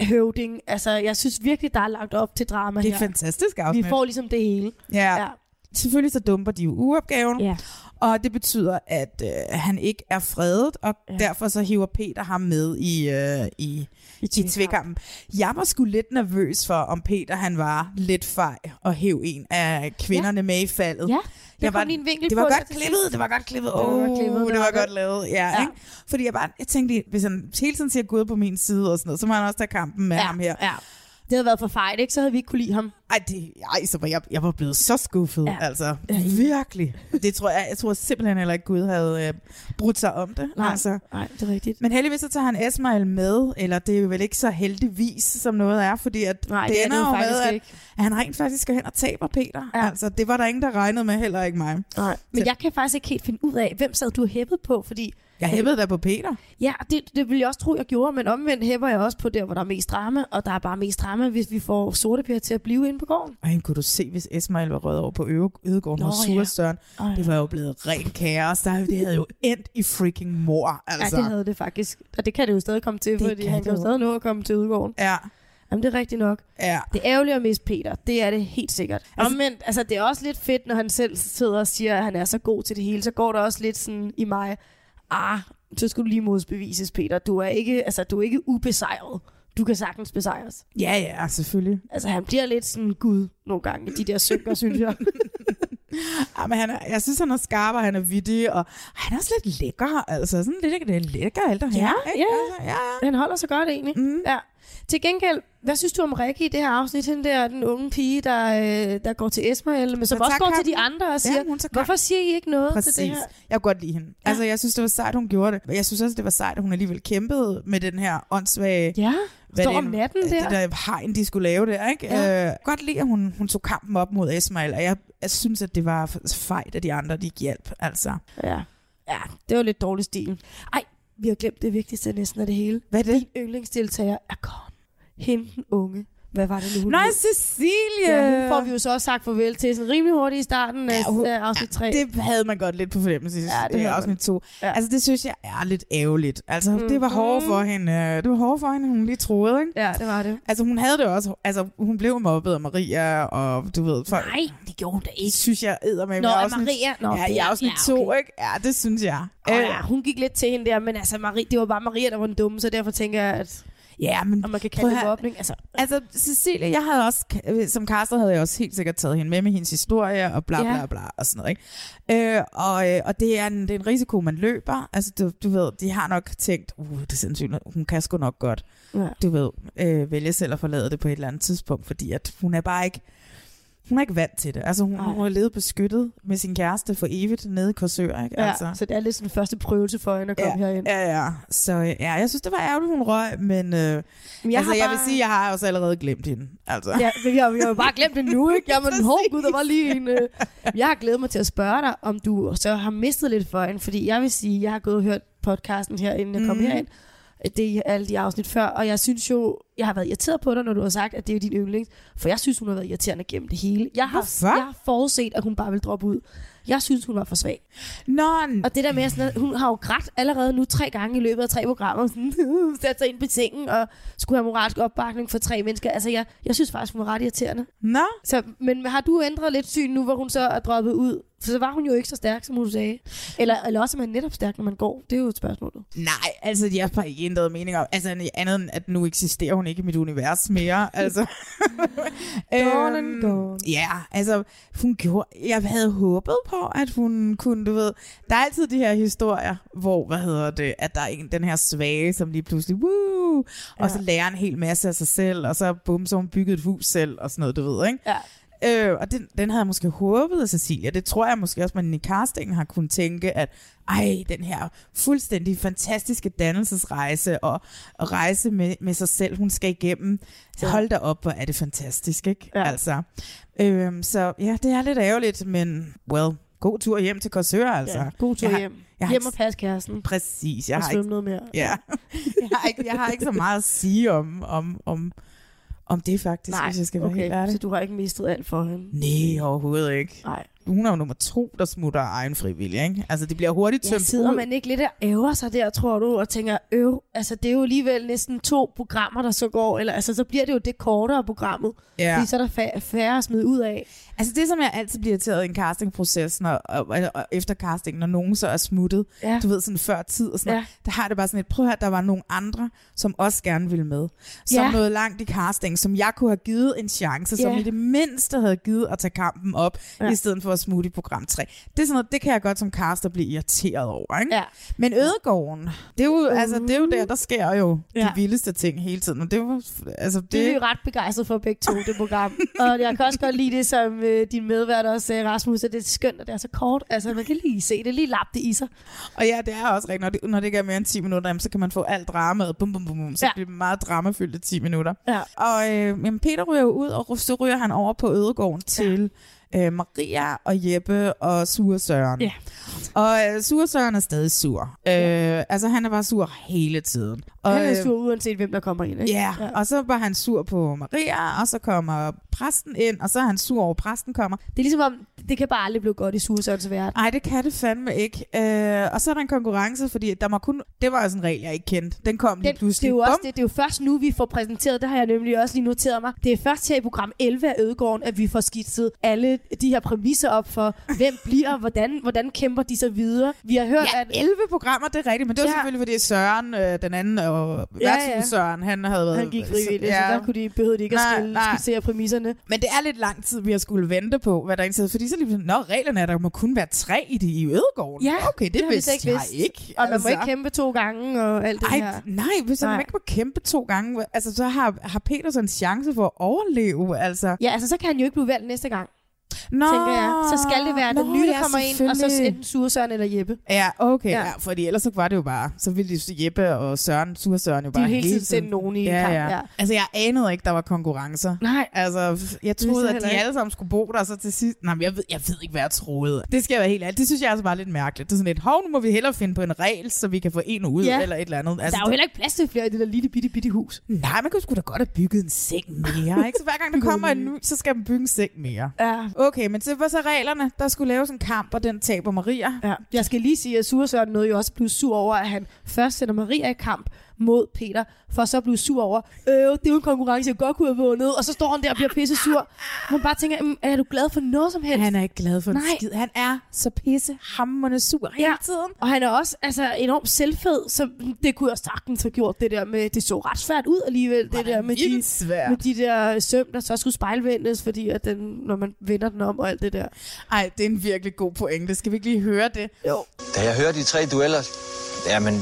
S2: høvding. Altså, jeg synes virkelig, der er lagt op til drama
S1: Det er
S2: her.
S1: et fantastisk afsnit.
S2: Vi får ligesom det hele.
S1: Ja.
S2: Ja.
S1: Selvfølgelig så dumper de jo uopgaven,
S2: Ja.
S1: og det betyder, at øh, han ikke er fredet, og ja. derfor så hiver Peter ham med i, øh, i, I, i tvækampen. Jeg var sgu lidt nervøs for, om Peter han var lidt fej og hæv en af kvinderne ja. med i faldet.
S2: Ja,
S1: jeg
S2: kom
S1: var,
S2: lige en vinkel
S1: det var
S2: på
S1: godt
S2: det.
S1: klippet, det var godt klippet.
S2: Det var
S1: Åh,
S2: godt
S1: oh, det
S2: klippet,
S1: var,
S2: det var
S1: godt
S2: godt.
S1: lavet. Ja, ja.
S2: Ja.
S1: Ikke? Fordi jeg, bare, jeg tænkte, hvis han hele tiden siger Gud på min side og sådan noget, så må han også tage kampen med
S2: Ja,
S1: ham her.
S2: ja. Det havde været for fejl, ikke? Så havde vi ikke kunne lide ham.
S1: Ej, det, ej så var jeg, jeg var blevet så skuffet, ja.
S2: Ja.
S1: altså. Virkelig. Det tror jeg, jeg tror simpelthen heller ikke, Gud havde øh, brudt sig om det.
S2: Nej,
S1: Altså.
S2: nej, det er rigtigt.
S1: Men heldigvis så tager han Esmail med, eller det er jo vel ikke så heldigvis, som noget er, fordi at
S2: Nej,
S1: det,
S2: det er
S1: ender
S2: det jo
S1: jo med,
S2: faktisk
S1: at,
S2: ikke.
S1: at han rent faktisk skal hen og taber Peter. Ja.
S2: Ja.
S1: Altså, det var der ingen, der regnede med, heller ikke mig.
S2: Nej. Men jeg kan faktisk ikke helt finde ud af, hvem sad du hæppet på, fordi...
S1: Jeg hæppede da på Peter.
S2: Ja, og det, det ville jeg også tro, jeg gjorde, men omvendt hæpper jeg også på der, hvor der er mest drama, og der er bare mest drama, hvis vi får sorteper til at blive inde på gården.
S1: Ej, kunne du se, hvis Esmail var røget over på Øve- Ødegården
S2: Nå,
S1: hos
S2: ja.
S1: Surestøren.
S2: Ej.
S1: Det var jo blevet rent kaos. Der, det havde jo endt i freaking mor. Altså.
S2: Ja, det havde det faktisk. Og det kan det jo stadig komme til,
S1: Det
S2: det fordi
S1: kan
S2: han kan
S1: det
S2: jo
S1: jo.
S2: stadig nå at komme til udgården.
S1: ja.
S2: Jamen, det er rigtigt nok.
S1: ja.
S2: Det er ærgerligt at miste Peter, det er det helt sikkert. Altså, Omvendt, altså det er også lidt fedt, når han selv sidder og siger, at han er så god til det hele, så går der også lidt sådan i mig, ah, så skulle du lige modbevises, Peter. Du er ikke, altså, du er ikke ubesejret. Du kan sagtens besejres.
S1: Ja, ja, selvfølgelig.
S2: Altså, han bliver lidt sådan gud nogle gange, i de der synker, synes jeg.
S1: Ja, Ah, men han er, jeg synes, han er skarp, og han er vittig, og han er også lidt lækker. Altså, sådan lidt, lidt lækker ældre her.
S2: Ja,
S1: ikke?
S2: ja.
S1: Altså, ja, ja.
S2: Han holder sig godt, egentlig.
S1: Mm.
S2: Ja. Til gengæld, hvad synes du om Rikke i det her afsnit? Hende der, den unge pige, der, øh, der går til Esmael, men som
S1: Der
S2: også
S1: tager
S2: går til de
S1: kampen.
S2: andre og
S1: Ja,
S2: siger,
S1: hun tager
S2: hvorfor siger I ikke noget
S1: Præcis.
S2: til det her?
S1: Jeg kunne godt lide hende. Ja. Altså, jeg synes, det var sejt, hun gjorde det. Men jeg synes også, det var sejt, at hun alligevel kæmpede med den her åndssvage...
S2: Ja,
S1: hvad
S2: står
S1: det
S2: om
S1: end-
S2: natten der.
S1: Det der hegn, de skulle lave der, ikke? Ja.
S2: Ja.
S1: Øh, godt lide, at hun, hun tog kampen op mod Esmail, og jeg, jeg synes, at det var fejt, at de andre, de ikke hjalp, altså.
S2: Ja. ja, det var lidt dårlig stil. Ej, vi har glemt det vigtigste næsten af det hele.
S1: Hvad er det?
S2: Din yndlingsdeltager er Korn. Hende den unge. Hvad var det nu? hun
S1: Nej,
S2: hed?
S1: Cecilie!
S2: Ja, hende får vi jo så også sagt farvel til sådan rimelig hurtigt i starten af
S1: Ja, hun-
S2: af afsnit 3.
S1: Det havde man godt lidt på fornemmelse i
S2: det havde
S1: ja, det
S2: man
S1: afsnit 2. Ja.
S2: Ja. Mhm.
S1: Altså, det synes jeg er lidt ærgerligt. Altså, mm. det var hårdt for hende. øh, Det var hårdt for hende, hun lige troede, ikke?
S2: Ja, det var det.
S1: Altså, hun havde det også. Altså, hun blev mobbet af Maria, og du ved, folk
S2: Nej, det gjorde hun da ikke.
S1: synes jeg æder med
S2: Nå, af Maria. Nå,
S1: ja, i
S2: det er-
S1: afsnit
S2: ja,
S1: 2,
S2: okay.
S1: ikke? Ja, det synes jeg. Øh,
S2: Og ja, hun gik lidt til hende der, men altså, Marie, det var bare Maria, der var den dumme, så derfor tænker jeg, at
S1: ja, men
S2: om man kan
S1: prøv
S2: kalde
S1: at
S2: det
S1: høre.
S2: mobning. Altså,
S1: Altså, Cecilie, jeg havde også, øh, som Carsten havde jeg også helt sikkert taget hende med med hendes historie og bla bla
S2: Ja.
S1: bla og sådan noget, ikke? Øh, og, øh, og det, er en, det er en risiko, man løber. Altså, du, du ved, de har nok tænkt, uh, det er sindssygt, hun kan sgu nok godt,
S2: ja.
S1: du ved, øh, vælge selv at forlade det på et eller andet tidspunkt, fordi at hun er bare ikke, hun er ikke vant til det. Altså, hun,
S2: Nej.
S1: hun har levet beskyttet med sin kæreste for evigt nede i Korsør, ikke? Altså.
S2: ja, så det er lidt sådan en første prøvelse for hende at komme
S1: ja,
S2: herind.
S1: Ja, ja. Så øh, ja, jeg synes, det var ærgerligt, hun røg, men øh, jeg,
S2: Men
S1: altså,
S2: har
S1: jeg vil
S2: bare-
S1: sige, jeg har også allerede glemt hende. Altså.
S2: Ja, men jeg, jeg har jo bare glemt det nu, ikke? Jamen,
S1: Præcis.
S2: hov, gud, der var lige en... Øh... Jeg har glædet mig til at spørge dig, om du så har mistet lidt for hende, fordi jeg vil sige, jeg har gået og hørt podcasten her, inden jeg kom
S1: Mhm.
S2: herind. Det er alle de afsnit før, og jeg synes jo, jeg har været irriteret på dig, når du har sagt, at det er din yndlings. For jeg synes, hun har været irriterende gennem det hele. Jeg har,
S1: Hvorfor?
S2: jeg har forudset, at hun bare vil droppe ud. Jeg synes, hun var for svag.
S1: Nå,
S2: og det der med, at sådan, at hun har jo grædt allerede nu tre gange i løbet af tre programmer. Sådan, sat sig ind på sengen og skulle have moralsk opbakning for tre mennesker. Altså, jeg, jeg synes faktisk, hun var ret irriterende.
S1: Nå.
S2: Så, men har du ændret lidt syn nu, hvor hun så er droppet ud? For så var hun jo ikke så stærk, som hun sagde. Eller, eller også er man netop stærk, når man går. Det er jo et spørgsmål.
S1: Nej, altså jeg har ikke ændret mening om, altså andet end, at nu eksisterer hun ikke i mit univers mere, altså. Øhm,
S2: Gone and gone.
S1: Ja, altså hun gjorde, jeg havde håbet på, at hun kunne, du ved, der er altid de her historier, hvor, hvad hedder det, at der er en, den her svage, som lige pludselig, woo, og
S2: Ja.
S1: så lærer en hel masse af sig selv, og så bum, så har hun bygget et hus selv, og sådan noget, du ved, ikke?
S2: Ja.
S1: Øh, og den, den havde jeg måske håbet af Cecilia. Det tror jeg måske også, man i castingen har kunnet tænke, at ej, den her fuldstændig fantastiske dannelsesrejse og, og rejse med, med sig selv, hun skal igennem. Så hold da op, hvor er det fantastisk, ikke? Ja. Altså, øhm, så ja, det er lidt ærgerligt, men well, god tur hjem til Korsør, altså.
S2: Ja, god tur
S1: Jeg har-
S2: hjem.
S1: Jeg har
S2: hjem
S1: ikke-
S2: og pas kæresten.
S1: Præcis. Jeg
S2: og
S1: har
S2: svømme
S1: ikke-
S2: noget mere.
S1: Ja. jeg, har ikke, jeg har ikke så meget at sige om, om, om, om det faktisk,
S2: Nej,
S1: hvis jeg skal være
S2: okay.
S1: helt ærlig.
S2: Så du har ikke mistet alt for hende?
S1: Nej, overhovedet ikke.
S2: Nej.
S1: Hun er jo nummer to, der smutter af egen frivillig, ikke? Altså, det bliver hurtigt
S2: Ja,
S1: tømt
S2: sidder
S1: ud.
S2: man ikke lidt og æver sig der, tror du, og tænker, øv, altså det er jo alligevel næsten to programmer, der så går, eller altså så bliver det jo det kortere programmet,
S1: Ja.
S2: fordi så er der fa- færre at smide ud af.
S1: Altså, det som jeg altid bliver irriteret i en castingproces, når, og, og, og efter castingen, når nogen så er smuttet,
S2: ja.
S1: du ved, sådan før tid og sådan
S2: Ja.
S1: ja. der har jeg det bare sådan et, prøv at der var nogle andre, som også gerne ville med, som
S2: Ja.
S1: ja. nåede langt i casting, som jeg kunne have givet en chance, som
S2: Ja.
S1: i det mindste havde givet at tage kampen op,
S2: Ja.
S1: ja. i stedet for at smutte i program 3. Det er sådan noget, det kan jeg godt som caster blive irriteret over, ikke?
S2: Ja.
S1: Men Ødegården, det er jo, altså, det er jo der, der sker jo ja.
S2: Ja.
S1: de vildeste ting hele tiden, og det var, altså, det,
S2: Det er vi jo ret begejstret for begge to, det program. og jeg kan også godt lide det, som øh, din medvært også sagde, Rasmus, at det er skønt, at det er så kort. Altså, man kan lige se det, lige lappe det i sig.
S1: Og ja, det er også rigtigt. Når det, når det ikke er mere end 10 minutter, jamen, så kan man få alt dramaet. Bum, bum, bum, bum. Så
S2: Ja.
S1: ja. bliver det meget dramafyldte 10 minutter.
S2: Ja.
S1: Og øh, jamen, Peter ryger jo ud, og så ryger han over på Ødegården til øh, Maria og Jeppe og Sure Søren.
S2: Ja.
S1: Og øh, Sure Søren er stadig sur. Øh, altså, han er bare sur hele tiden. Og,
S2: Han er
S1: øh,
S2: sur, uanset hvem der kommer ind. Ikke?
S1: Ja, yeah. og så var han sur på Maria, og så kommer præsten ind, og så er han sur over, at præsten kommer.
S2: Det er ligesom om, det kan bare aldrig blive godt i Suresøns verden.
S1: Nej, det kan det fandme ikke. Øh, og så er der en konkurrence, fordi der må kun... Det var altså en regel, jeg ikke kendte. Den kom lige
S2: Den, det,
S1: pludselig.
S2: er jo også,
S1: Bum.
S2: det, det er jo først nu, vi får præsenteret, det har jeg nemlig også lige noteret mig, det er først her i program 11 af Ødegården, at vi får skitset alle de her præmisser op for, hvem bliver, hvordan, hvordan kæmper de sig videre. Vi har hørt,
S1: Ja,
S2: at...
S1: 11 programmer, det er rigtigt, men det var
S2: Ja.
S1: ja. selvfølgelig, fordi Søren, øh, den anden, og
S2: Ja, ja.
S1: ja, ja. Søren, han havde været...
S2: Han gik frivilligt, ja. så der kunne de, behøvede de ikke
S1: Nej,
S2: at skille,
S1: nej.
S2: skitsere præmisserne.
S1: Men det er lidt lang tid, vi har skulle vente på, hvad der egentlig fordi så lige pludselig, nå, reglerne er, at der må kun være tre i det i Ødegården.
S2: Ja,
S1: okay, det,
S2: det har vi
S1: vidste
S2: slet ikke
S1: jeg
S2: vidst.
S1: ikke. Altså-
S2: Og man må ikke kæmpe to gange og alt det
S1: Ej,
S2: her.
S1: nej, hvis
S2: Nej.
S1: han ikke må kæmpe to gange, hva- altså, så har, har Peter så en chance for at overleve. Altså.
S2: Ja, altså så kan han jo ikke blive valgt næste gang,
S1: Nå,
S2: tænker jeg. Så skal det være den
S1: nå,
S2: nye, der
S1: ja,
S2: kommer ind, og så
S1: selvfølgelig.
S2: enten Suresøren eller Jeppe.
S1: Ja, okay.
S2: Ja.
S1: Ja. Ja, fordi ellers så var det jo bare, så ville de Jeppe og Søren, Sur Søren jo
S2: De
S1: bare
S2: vil hele tiden sende nogen i
S1: ja,
S2: kamp.
S1: Ja. Altså, jeg anede ikke, der var konkurrencer.
S2: Nej.
S1: Altså, f- jeg
S2: vidste jeg
S1: troede, at
S2: heller
S1: de
S2: ikke.
S1: alle sammen skulle bo der, og så til sidst... Nej, men jeg ved, jeg ved ikke, hvad jeg troede. Det skal jeg være helt ærlig. Det synes jeg altså bare er lidt mærkeligt. Det er sådan lidt, hov, nu må vi hellere finde på en regel, så vi kan få en ud,
S2: Ja.
S1: ja. eller et eller andet.
S2: Altså, der er jo heller ikke plads til flere i det der lille bitte bitte hus.
S1: Nej, man kunne sgu da godt have bygget en seng mere, ikke? Så hver gang der kommer en ny, så skal man bygge en seng mere.
S2: Ja.
S1: Okay, men så var så reglerne. Der skulle laves en kamp, og den taber Maria.
S2: Ja. Jeg skal lige sige, at Suresøren nåede jo også at blive sur over, at han først sender Maria i kamp mod Peter, for så at blive sur over, øh, det er jo en konkurrence, jeg godt kunne have vundet, og så står han der og bliver pisse sur. Man bare tænker, "Mm, er du glad for noget som helst?
S1: Han er ikke glad for en
S2: Nej.
S1: skid. Han er så pisse hammerne sur hele
S2: Ja.
S1: tiden.
S2: Og han er også altså, enormt selvfed, så det kunne jeg sagtens have gjort det der med, det så ret svært ud alligevel, det
S1: Var
S2: der
S1: det
S2: med
S1: vildt
S2: de,
S1: svært.
S2: med de der søm, der så skulle spejlvendes, fordi at den, når man vender den om og alt det der.
S1: Ej, det er en virkelig god pointe. Skal vi ikke lige høre det?
S2: Jo.
S10: Da jeg hører de tre dueller, jamen,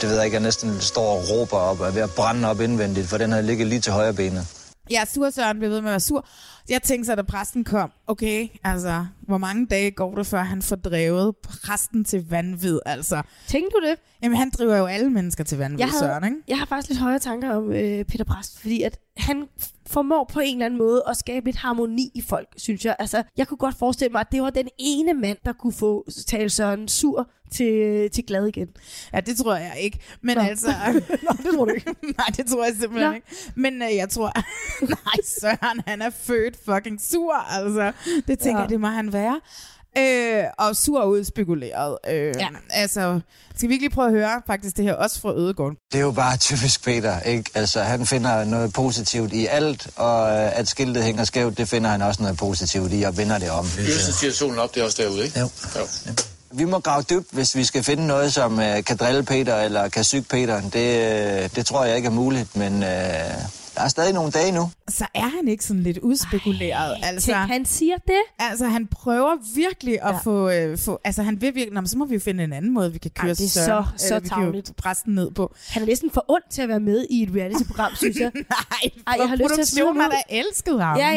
S10: det ved jeg ikke, jeg næsten står og råber op og er ved at brænde op indvendigt, for den havde ligget lige til højre benet.
S1: Ja, sur Søren bliver ved med at være sur. Jeg tænkte så, da præsten kom, okay, altså, hvor mange dage går det, før han får drevet præsten til vanvid, altså?
S2: Tænkte du det?
S1: Jamen, han driver jo alle mennesker til vanvid,
S2: jeg,
S1: Søren, ikke?
S2: jeg har faktisk lidt højere tanker om øh, Peter Præst, fordi at han formår på en eller anden måde at skabe lidt harmoni i folk, synes jeg. Altså, jeg kunne godt forestille mig, at det var den ene mand, der kunne få tale Søren sur til, til glad igen.
S1: Ja, det tror jeg ikke. Men
S2: Nå.
S1: altså...
S2: Nå, det tror du ikke.
S1: Nej, det tror jeg simpelthen
S2: Nå.
S1: ikke. Men øh, jeg tror... Nej, Søren, han er født fucking sur, altså. Det tænker
S2: Ja.
S1: ja. jeg, det må han være. Øh, og sur og udspekuleret. Øh, ja. Altså, skal vi ikke lige prøve at høre faktisk det her, også fra Ødegården?
S10: Det er jo bare typisk Peter, ikke? Altså, han finder noget positivt i alt, og øh, at skiltet hænger skævt, det finder han også noget positivt i og vender det om.
S11: Yrsen siger solen op, det er også derude, ikke? Jo. jo.
S10: Vi må grave dybt, hvis vi skal finde noget, som øh, kan drille Peter eller kan syge Peter. Det, øh, det tror jeg ikke er muligt, men øh, der er stadig nogle dage nu.
S1: Så er han ikke sådan lidt udspekuleret? Ej, altså,
S2: tænk, han siger det.
S1: Altså, han prøver virkelig at ja. få, øh, få... Altså, han vil virkelig... Nå, men så må vi jo finde en anden måde, vi kan køre
S2: Ej, det er
S1: Søren- eller
S2: så, så
S1: vi kan jo
S2: tarveligt.
S1: præsten ned på.
S2: Han er næsten for ond til at være med i et reality-program, synes jeg.
S1: Nej,
S2: Ej, jeg har lyst til at smide ham
S1: Produktionen har
S2: ud.
S1: da elsket ham.
S2: Ja, ja.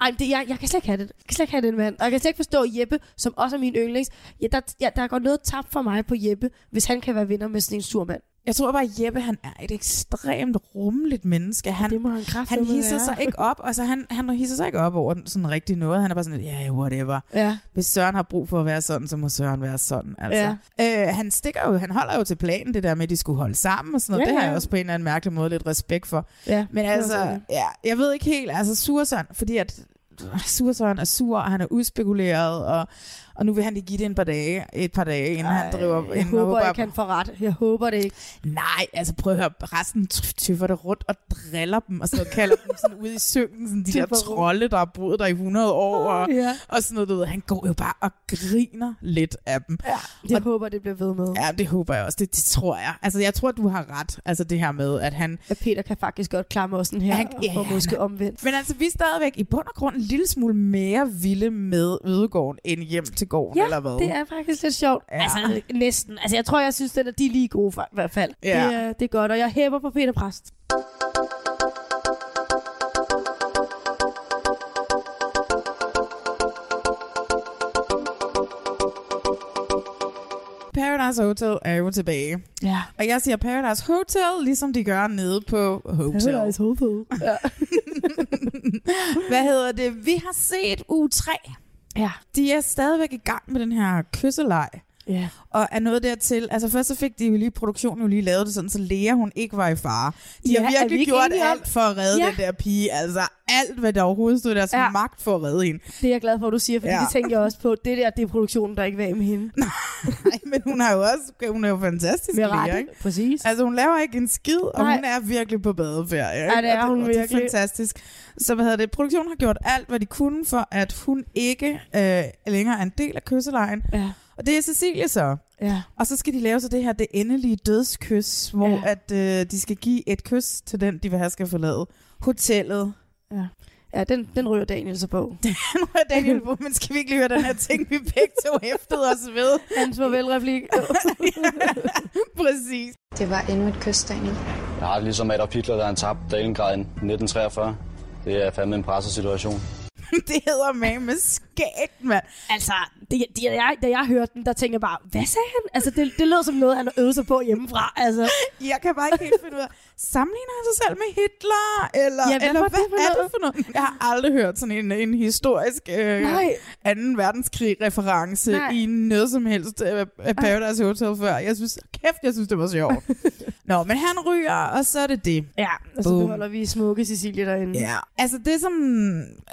S2: Ej, men det, jeg, jeg kan slet ikke have det. Jeg kan slet ikke have den mand. Og jeg kan slet ikke forstå Jeppe, som også er min yndlings. Ja, der, ja, der går noget tabt for mig på Jeppe, hvis han kan være vinder med sådan en sur mand.
S1: Jeg tror bare, at Jeppe han er et ekstremt rummeligt menneske. Han, det
S2: må han kraftigt
S1: Han hisser sig ikke op, og så han, han hisser sig ikke op over sådan rigtig noget. Han er bare sådan, ja, yeah, whatever.
S2: Ja.
S1: Hvis Søren har brug for at være sådan, så må Søren være sådan. Altså. Ja. Øh, han stikker jo, han holder jo til planen, det der med, at de skulle holde sammen og sådan noget. Ja,
S2: Ja,
S1: Det har
S2: ja.
S1: jeg også på en eller anden mærkelig måde lidt respekt for.
S2: Ja,
S1: Men
S2: det er også
S1: altså,
S2: rigtigt.
S1: ja, jeg ved ikke helt, altså Sursøren, fordi at Sursøren er sur, og han er udspekuleret, og, og nu vil han lige give det en par dage, et par dage, inden Ej, han driver...
S2: Jeg,
S1: inden
S2: håber, jeg kan få ret. Jeg håber det ikke.
S1: Nej, altså prøv at høre, resten ty- tyffer det rundt og driller dem, og sådan noget, kalder dem sådan ude i søen, sådan de der
S2: Tyffer rundt.
S1: trolde, der har boet der i 100 år, og,
S2: Ja.
S1: og sådan noget, du ved. Han går jo bare og griner lidt af dem. Ja,
S2: Jeg og, håber, det bliver ved med.
S1: ja det håber jeg også, det, det tror jeg. Altså jeg tror, du har ret, altså det her med, at han...
S2: At Peter kan faktisk godt klare mig sådan her,
S1: Han-
S2: han, og få
S1: ja,
S2: måske omvendt.
S1: Men altså, vi er stadigvæk i bund og grund en lille smule mere vilde med Ødegården end hjem til gården,
S2: Ja,
S1: eller hvad?
S2: det er faktisk lidt sjovt. Ja.
S1: Ja.
S2: Altså, næsten. Altså, jeg tror, jeg synes, den er de er lige gode for, i hvert fald.
S1: Ja.
S2: Det, er, det er godt, og jeg hæber på Peter Præst.
S1: Paradise Hotel er jo tilbage.
S2: Ja.
S1: Og jeg siger Paradise Hotel, ligesom de gør nede på Hotel.
S2: Paradise Hotel. Ja.
S1: Hvad hedder det? Vi har set u 3.
S2: Ja.
S1: De er stadigvæk i gang med den her kysseleg.
S2: Ja.
S1: Og er noget dertil. Altså først så fik de jo lige, produktionen jo lige lavet det sådan, så Lea hun ikke var i fare. De
S2: Ja,
S1: har
S2: er vi
S1: virkelig
S2: ikke
S1: gjort
S2: enige om-
S1: alt for at redde
S2: Ja.
S1: ja. den der pige. Altså alt, hvad der overhovedet stod i deres
S2: Ja.
S1: ja. magt for at redde hende.
S2: Det er jeg glad for, at du siger, fordi ja.
S1: Ja.
S2: det tænker jeg også på. Det der, det er produktionen, der ikke var af med hende.
S1: Men hun har jo også, hun er jo fantastisk
S2: Med
S1: Lea,
S2: rette,
S1: ikke?
S2: præcis.
S1: Altså hun laver ikke en skid, og
S2: Nej.
S1: hun er virkelig på badeferie.
S2: Ja, det er
S1: og
S2: hun
S1: og Det er
S2: virkelig.
S1: fantastisk. Så hvad hedder det? Produktionen har gjort alt, hvad de kunne, for at hun ikke øh, længere er en del af kysselejen.
S2: Ja.
S1: Og det er Cecilie så.
S2: Ja.
S1: Og så skal de lave så det her, det endelige dødskys, hvor ja. at øh, de skal give et kys til den, de vil have skal forlade hotellet.
S2: Ja, ja den, den ryger Daniel så på.
S1: Nu er Daniel på, men skal vi ikke lige høre den her ting, vi begge to hæftede os ved?
S2: Hans farvelreplik.
S1: Præcis.
S5: Det var endnu et kys, Daniel.
S4: Jeg har det ligesom Adolf Hitler, der er en tabt Dalengrad i 1943. Det er fandme en presset situation.
S1: det hedder man med skægt, mand.
S2: Altså, det, det, jeg, da jeg hørte den, der tænkte jeg bare, hvad sagde han? Altså, det, det lød som noget, han øvede sig på hjemmefra. Altså,
S1: Jeg kan bare ikke helt finde ud af, sammenligner han sig selv med Hitler? Eller,
S2: Ja, hvad
S1: eller
S2: var det
S1: hvad
S2: for
S1: er det
S2: noget?
S1: for noget? Jeg har aldrig hørt sådan en, en historisk øh,
S2: Nej.
S1: anden verdenskrig-reference
S2: Nej.
S1: i noget som helst øh, af af Paradise Hotel før. Jeg synes, kæft, jeg synes, det var sjovt. Nå, men han ryger, og så er det det.
S2: ja, og så
S1: Boom.
S2: beholder vi smukke Cecilie derinde.
S1: Ja, altså det som...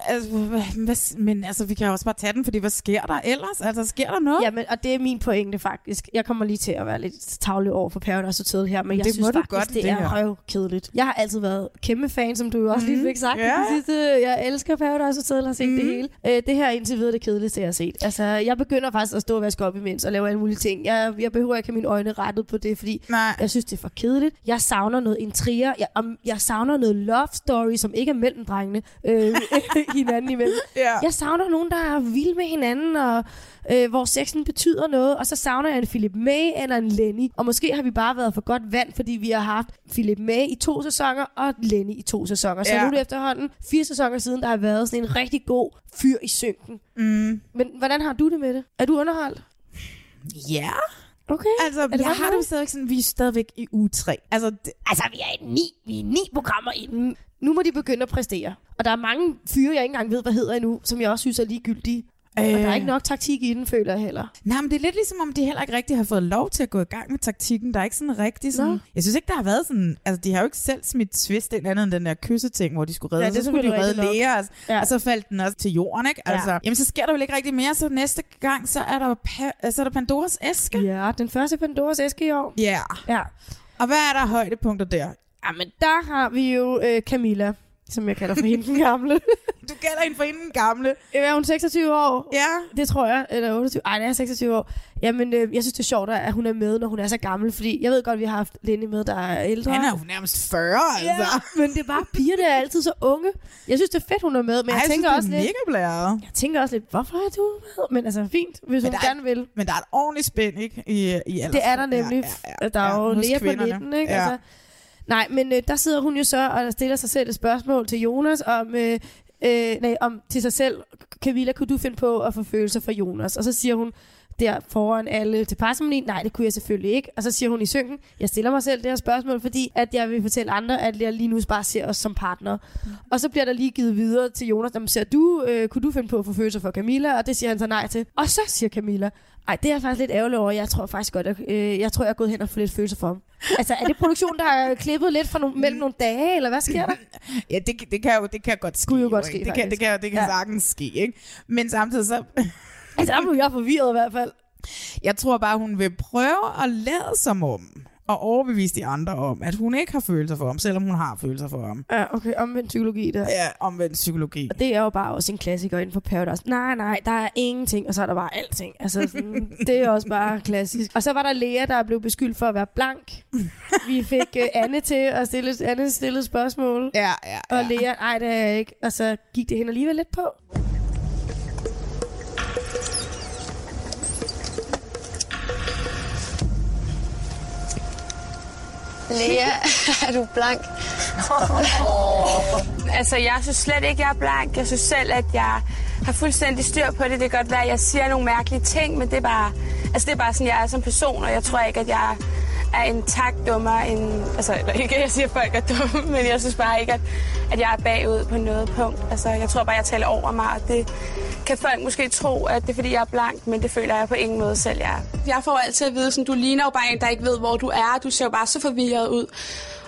S1: Altså, hvad- hvad, men altså, vi kan jo også bare tage den, fordi hvad sker der ellers? Altså, sker der noget?
S2: Ja, men, og det er min pointe faktisk. Jeg kommer lige til at være lidt tavlig over for Paradise Hotel her, men jeg
S1: Det
S2: synes
S1: må du
S2: faktisk,
S1: godt,
S2: det,
S1: det
S2: er
S1: her.
S2: røvkedeligt. Jeg har altid været kæmpe fan, som du jo også lige
S1: Mhm.
S2: fik sagt
S1: Ja.
S2: i det sidste. Jeg elsker Paradise Hotel, har set mm. det hele. Øh, det her er indtil videre det kedeligste, jeg har set. Altså, jeg begynder faktisk at stå og vaske op imens og lave alle mulige ting. Jeg, jeg behøver ikke have mine øjne rettet på det, fordi
S1: Nej.
S2: jeg synes, det er for kedeligt. Jeg savner noget intriger. Jeg, om, jeg jeg savner noget love story, som ikke er mellem drengene øh, hinanden imellem.
S1: Ja.
S2: Jeg savner nogen, der er vilde med hinanden, og øh, hvor sexen betyder noget. Og så savner jeg en Philip May eller en Lenny. Og måske har vi bare været for godt vand, fordi vi har haft Philip May i to sæsoner og Lenny i to sæsoner. Så
S1: Ja.
S2: ja. nu er det efterhånden fire sæsoner siden, der har været sådan en rigtig god fyr i synken.
S1: Mm.
S2: Men hvordan har du det med det? Er du underholdt?
S1: Ja.
S2: Okay.
S1: Altså,
S2: det
S1: jeg
S2: godt
S1: har
S2: nok?
S1: det jo stadigvæk sådan, vi er stadigvæk i u 3. Altså, det,
S2: Altså, vi er i ni, vi er ni programmer inden. Nu må de begynde at præstere. Og der er mange fyre, jeg ikke engang ved, hvad hedder endnu, som jeg også synes er ligegyldige. Øh. Og
S1: Øh.
S2: der er ikke nok taktik i den, føler jeg heller.
S1: Nej, men det er lidt ligesom, om de heller ikke rigtig har fået lov til at gå i gang med taktikken. Der er ikke sådan rigtig sådan...
S2: Nå.
S1: Jeg synes ikke, der har været sådan... Altså, de har jo ikke selv smidt twist ind andet end den der kysseting, hvor de skulle redde.
S2: Ja, det er
S1: så skulle de
S2: selvfølgelig
S1: redde
S2: rigtigt nok.
S1: læger, altså, ja. og så faldt den også til jorden, ikke?
S2: Ja.
S1: Altså, jamen, så sker der jo ikke rigtig mere, så næste gang, så er der, pa- øh, så er der Pandoras æske.
S2: Ja, den første Pandoras æske i år.
S1: Ja.
S2: ja.
S1: Og hvad er der af højdepunkter der?
S2: Jamen, der har vi jo øh, Camilla, som jeg kalder for hende den gamle.
S1: Du kalder hende for hende den gamle.
S2: Er hun 26 år?
S1: Ja.
S2: Det tror jeg. Eller 28. Ej, det er 26 år. Jamen, øh, jeg synes, det er sjovt, at hun er med, når hun er så gammel. Fordi jeg ved godt, at vi har haft Lenny med, der er ældre.
S1: Han er jo nærmest 40, altså.
S2: Ja, men det er bare piger, der er altid så unge. Jeg synes, det er fedt, hun er med, men
S1: Ej,
S2: jeg,
S1: jeg
S2: tænker
S1: synes,
S2: også
S1: det er
S2: lidt...
S1: mega blæret.
S2: Jeg tænker også lidt, hvorfor er du med? Men altså, fint,
S1: Men
S2: hvis hun
S1: der er-
S2: gerne vil.
S1: Men der er et ordentligt spænd, ikke? I, i alders-
S2: Det er der nemlig. Ja, ja, ja. Der er jo
S1: hos
S2: læger på
S1: kvinderne.
S2: 19, ikke?
S1: Ja.
S2: Altså, nej, men øh, der sidder hun jo så og stiller sig selv et spørgsmål til Jonas om... Øh, Øh, nej, om til sig selv, Camilla, kunne du finde på at få følelser for Jonas? Og så siger hun der foran alle til parsemonien, nej, det kunne jeg selvfølgelig ikke. Og så siger hun i synken, jeg stiller mig selv det her spørgsmål, fordi at jeg vil fortælle andre, at jeg lige nu bare ser os som partner. Mm. Og så bliver der lige givet videre til Jonas, om ser du, øh, kunne du finde på at få følelser for Camilla? Og det siger han så nej til. Og så siger Camilla, ej, det er jeg faktisk lidt ærgerlig over. Jeg tror faktisk godt, at, øh, jeg tror, jeg er gået hen og fået lidt følelser for ham. Altså, er det produktion, der har klippet lidt fra no- mellem nogle dage, eller hvad sker der?
S1: Ja, det, det, kan jo, det kan godt ske. Kunne
S2: jo godt
S1: ikke? det
S2: ske,
S1: kan, det
S2: faktisk.
S1: kan, det kan ja.
S2: Ja.
S1: sagtens ske, ikke? Men samtidig så...
S2: altså, der blev jeg forvirret i hvert fald.
S1: Jeg tror bare, hun vil prøve at lade som om, og overbevise de andre om, at hun ikke har følelser for ham, selvom hun har følelser for ham.
S2: Ja, okay, omvendt psykologi der.
S1: Ja, omvendt psykologi.
S2: Og det er jo bare også en klassiker inden for Paradise. Nej, nej, der er ingenting, og så er der bare alting. Altså, sådan, det er også bare klassisk. Og så var der Lea, der blev beskyldt for at være blank. Vi fik uh, Anne til at stille, Anne stille spørgsmål.
S1: Ja, ja,
S2: Og Lea, nej, det er jeg ikke. Og så gik det hende alligevel lidt på.
S12: Lea, er du blank? altså, jeg synes slet ikke, jeg er blank. Jeg synes selv, at jeg har fuldstændig styr på det. Det kan godt være, at jeg siger nogle mærkelige ting, men det er bare, altså, det er bare sådan, jeg er som person, og jeg tror ikke, at jeg er en tak dummere end... Altså, eller ikke, at jeg siger, at folk er dumme, men jeg synes bare ikke, at, at jeg er bagud på noget punkt. Altså, jeg tror bare, jeg taler over mig, og det kan folk måske tro, at det er, fordi jeg er blank, men det føler jeg på ingen måde selv, jeg er. Jeg får altid at vide, sådan, du ligner jo bare en, der ikke ved, hvor du er. Du ser jo bare så forvirret ud.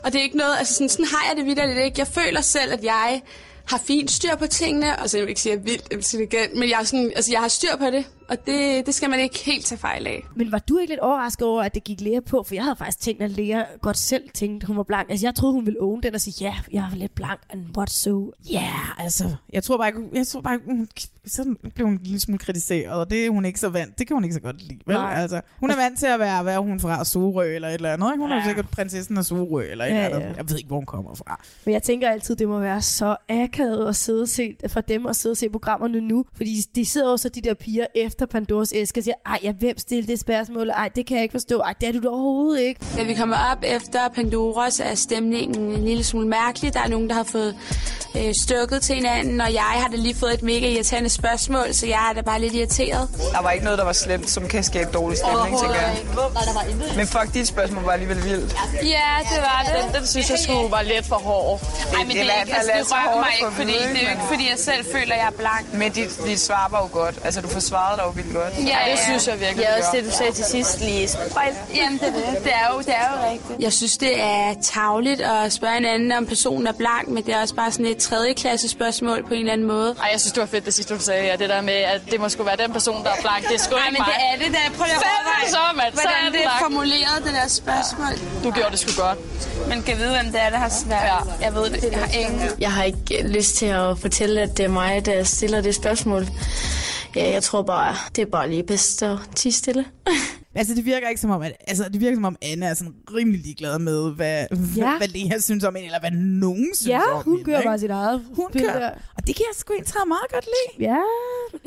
S12: Og det er ikke noget, altså sådan, sådan har jeg det vidt lidt ikke. Jeg føler selv, at jeg har fint styr på tingene. Altså, jeg vil ikke sige, at jeg er vildt intelligent, men jeg, er sådan, altså, jeg har styr på det. Og det, det skal man ikke helt tage fejl af.
S2: Men var du ikke lidt overrasket over, at det gik Lea på? For jeg havde faktisk tænkt, at Lea godt selv tænkte, at hun var blank. Altså, jeg troede, hun ville own den og sige, ja, yeah, jeg er lidt blank, and what so? Ja, yeah,
S1: altså, jeg tror bare, ikke- jeg tror bare ikke, hun, sådan blev hun en lille smule kritiseret, og det er hun ikke så vant. Det kan hun ikke så godt lide, vel?
S2: Nej.
S1: Altså, hun er vant til at være, hvad er hun fra Sorø eller et eller andet. Ikke? Hun er jo
S2: Ja.
S1: sikkert prinsessen af Sorø eller et
S2: Ja,
S1: eller
S2: ja.
S1: andet. Jeg ved ikke, hvor hun kommer fra.
S2: Men jeg tænker altid, det må være så akavet at sidde og se, for dem at sidde og se programmerne nu. Fordi de sidder jo så de der piger efter Pandoras æske og siger, ej, jeg hvem stille det spørgsmål? Ej, det kan jeg ikke forstå. Ej, det er du da overhovedet ikke.
S12: Da vi kommer op efter Pandoras, er stemningen en lille smule mærkelig. Der er nogen, der har fået øh, stukket til hinanden, og jeg har da lige fået et mega irriterende spørgsmål, så jeg er da bare lidt irriteret.
S13: Der var ikke noget, der var slemt, som kan skabe dårlig stemning, tænker jeg. Men fuck, dit spørgsmål var alligevel vildt.
S12: Ja, det var det.
S13: Den, den synes jeg skulle var lidt for hård.
S12: Ej, men det, er ikke, altså, det rører mig ikke, fordi det er jo ikke, fordi jeg selv føler, at jeg er blank.
S13: Men dit, dit svar var jo godt. Altså, du forsvarede dig jo vildt godt.
S12: Ja,
S13: det
S12: ja.
S13: synes jeg virkelig,
S12: Ja,
S13: du
S12: også
S13: gør.
S12: det, du sagde til sidst, lige Jamen, det, det, er jo, det er jo rigtigt. Jeg synes, det er tavligt at spørge en anden, om personen er blank, men det er også bare sådan et tredjeklasse spørgsmål på en eller anden måde.
S14: Ej, jeg synes, det var fedt, det sidste, du sagde, ja, det der med, at det må sgu være den person, der er blank. Det er sgu
S12: Ej,
S14: ikke
S12: men det
S14: mig.
S12: er det da. Prøv lige at
S14: Fandme
S12: overveje,
S14: så, mand. Så
S12: hvordan
S14: er den
S12: det er
S14: blank.
S12: formuleret, det der spørgsmål.
S14: Du gjorde det sgu godt.
S12: Man kan vide, hvem det er, der har svært. Ja. Jeg ved det. Jeg har øh, ingen.
S15: Jeg har ikke lyst til at fortælle, at det er mig, der stiller det spørgsmål. Ja, jeg tror bare, det er bare lige bedst at tige stille.
S1: Altså, det virker ikke som om, at, altså, det virker som om Anne er sådan rimelig ligeglad med, hvad, ja.
S2: Ja.
S1: hvad Lea synes om hende, eller hvad nogen synes
S2: Ja,
S1: om
S2: hun
S1: hende,
S2: kører
S1: ikke?
S2: bare sit eget
S1: Hun
S2: spil
S1: kører,
S2: der.
S1: og det kan jeg sgu egentlig meget godt lide.
S2: Ja,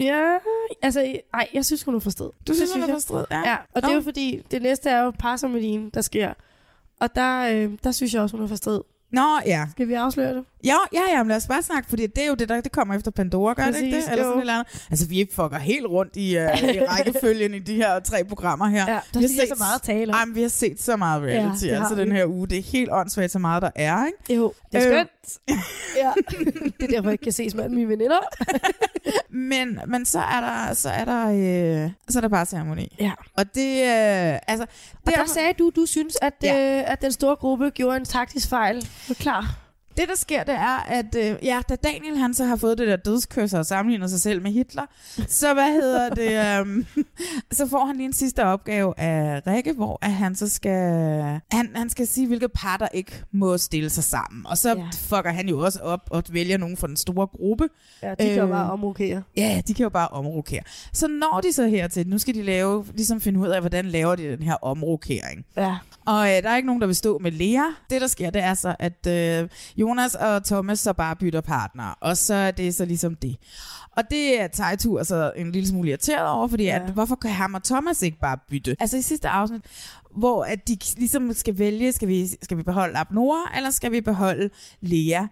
S2: ja. Altså, nej, jeg synes, hun er forstået.
S1: Du synes, hun er forstået? Ja.
S2: Ja. ja. Og det er
S1: Nå.
S2: jo fordi, det næste er jo parsamedien, der sker. Og der, øh, der synes jeg også, hun er forstået.
S1: Nå, ja.
S2: Skal vi afsløre det?
S1: Jo, ja, ja, men lad os bare snakke, fordi det er jo det, der det kommer efter Pandora, gør det ikke
S2: Præcis,
S1: det? Eller
S2: jo.
S1: sådan et eller andet. Altså, vi fucker helt rundt i, uh, i rækkefølgen i de her tre programmer her. Ja,
S2: der lige er så meget at tale om.
S1: Jamen, vi har set så meget reality,
S2: Ja,
S1: ja,
S2: det
S1: altså
S2: har
S1: den
S2: vi.
S1: her uge. Det er helt åndssvagt, så meget der er, ikke?
S2: Jo, det
S1: Øh,
S2: er skønt. ja. Det er derfor, jeg ikke kan ses med alle mine veninder.
S1: Men, men så er der, så er der, øh, så er der bare ceremoni.
S2: Ja.
S1: Og det, øh, altså...
S2: Og der sagde du, du synes, at, ja. øh, at den store gruppe gjorde en taktisk fejl. Klar.
S1: Det, der sker, det er, at øh, ja, da Daniel han så har fået det der dødskys og sammenligner sig selv med Hitler, så hvad hedder det, øhm, så får han lige en sidste opgave af Rikke, hvor at han så skal, han, han skal sige, hvilke par, der ikke må stille sig sammen. Og så ja. fucker han jo også op og vælger nogen fra den store gruppe.
S2: Ja, de
S1: Øhm.
S2: kan jo bare omrokere.
S1: Ja, de kan jo bare omrokere. Så når de så hertil, nu skal de lave, ligesom finde ud af, hvordan laver de den her omrokering.
S2: Ja.
S1: Og øh, der er ikke nogen, der vil stå med Lea. Det, der sker, det er så, at øh, Jonas og Thomas så bare bytter partner. Og så er det så ligesom det. Og det er Tejtur så en lille smule irriteret over, fordi ja. at, hvorfor kan ham og Thomas ikke bare bytte? Altså i sidste afsnit, hvor at de k- ligesom skal vælge, skal vi, skal vi beholde Abnora, eller skal vi beholde Lea?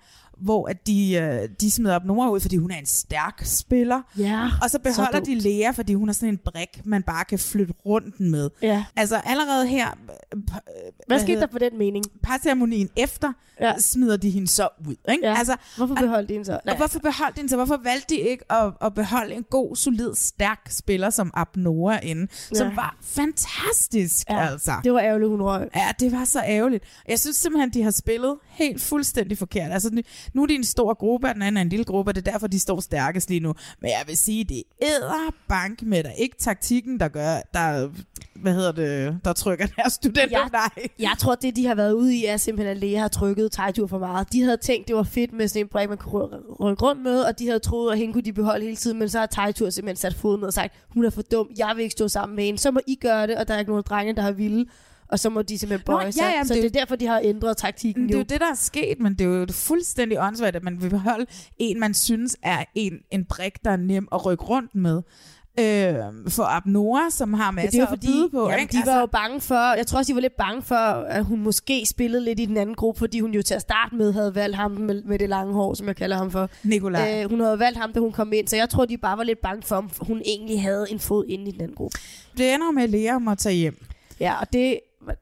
S1: Hvor at de, øh, de smider Abnora ud, fordi hun er en stærk spiller.
S2: Ja,
S1: og så
S2: så
S1: beholder
S2: dumt.
S1: de Lea, fordi hun er sådan en brik, man bare kan flytte rundt med.
S2: Ja.
S1: Altså allerede her... øh, p- øh,
S2: Hvad skete
S1: hedder-
S2: der på den mening?
S1: Parceremonien efter, ja. smider de hende så ud. Ikke?
S2: Ja.
S1: Altså,
S2: hvorfor beholdt de hende så?
S1: Og hvorfor beholdt de hende så? Hvorfor valgte de ikke at, at beholde en god, solid, stærk spiller som Abnora inde, ja. som
S2: Ja.
S1: var fantastisk, ja. altså.
S2: Det var ærgerligt, hun røg.
S1: Ja, det var så ærgerligt. Jeg synes simpelthen, de har spillet helt fuldstændig forkert. Altså, nu- nu er de en stor gruppe, og den anden er en lille gruppe, og det er derfor, de står stærkest lige nu. Men jeg vil sige, det æder bank med dig. Ikke taktikken, der gør, der, hvad hedder det, der trykker deres studenter. Ja. Nej.
S2: Jeg tror, det de har været ude i, er simpelthen, at Lea har trykket Tejtur for meget. De havde tænkt, det var fedt med sådan en brik, man kunne ry- rykke rundt med, og de havde troet, at hende kunne de beholde hele tiden, men så har Tejtur simpelthen sat foden ned og sagt, hun er for dum, jeg vil ikke stå sammen med hende, så må I gøre det, og der er ikke nogen drenge, der har ville, og så må de simpelthen
S1: Nå,
S2: bøje
S1: ja,
S2: sig.
S1: jamen,
S2: så
S1: det-
S2: det, er derfor, de har ændret taktikken
S1: Det er jo
S2: jo.
S1: det, der er sket, men det er jo fuldstændig åndssvagt, at man vil beholde en, man synes er en, en brik, der er nem at rykke rundt med. Øh, for Abnora, som har
S2: Men
S1: masser
S2: det er jo
S1: at
S2: fordi,
S1: byde på.
S2: jamen,
S1: ikke? Altså,
S2: de var jo bange for, jeg tror også, de var lidt bange for, at hun måske spillede lidt i den anden gruppe, fordi hun jo til at starte med havde valgt ham med, med det lange hår, som jeg kalder ham for.
S1: Nikolaj.
S2: Øh, hun havde valgt ham, da hun kom ind, så jeg tror, de bare var lidt bange for, om hun egentlig havde en fod inde i den anden gruppe.
S1: Det ender jo med, at Lea må tage hjem.
S2: Ja, og det,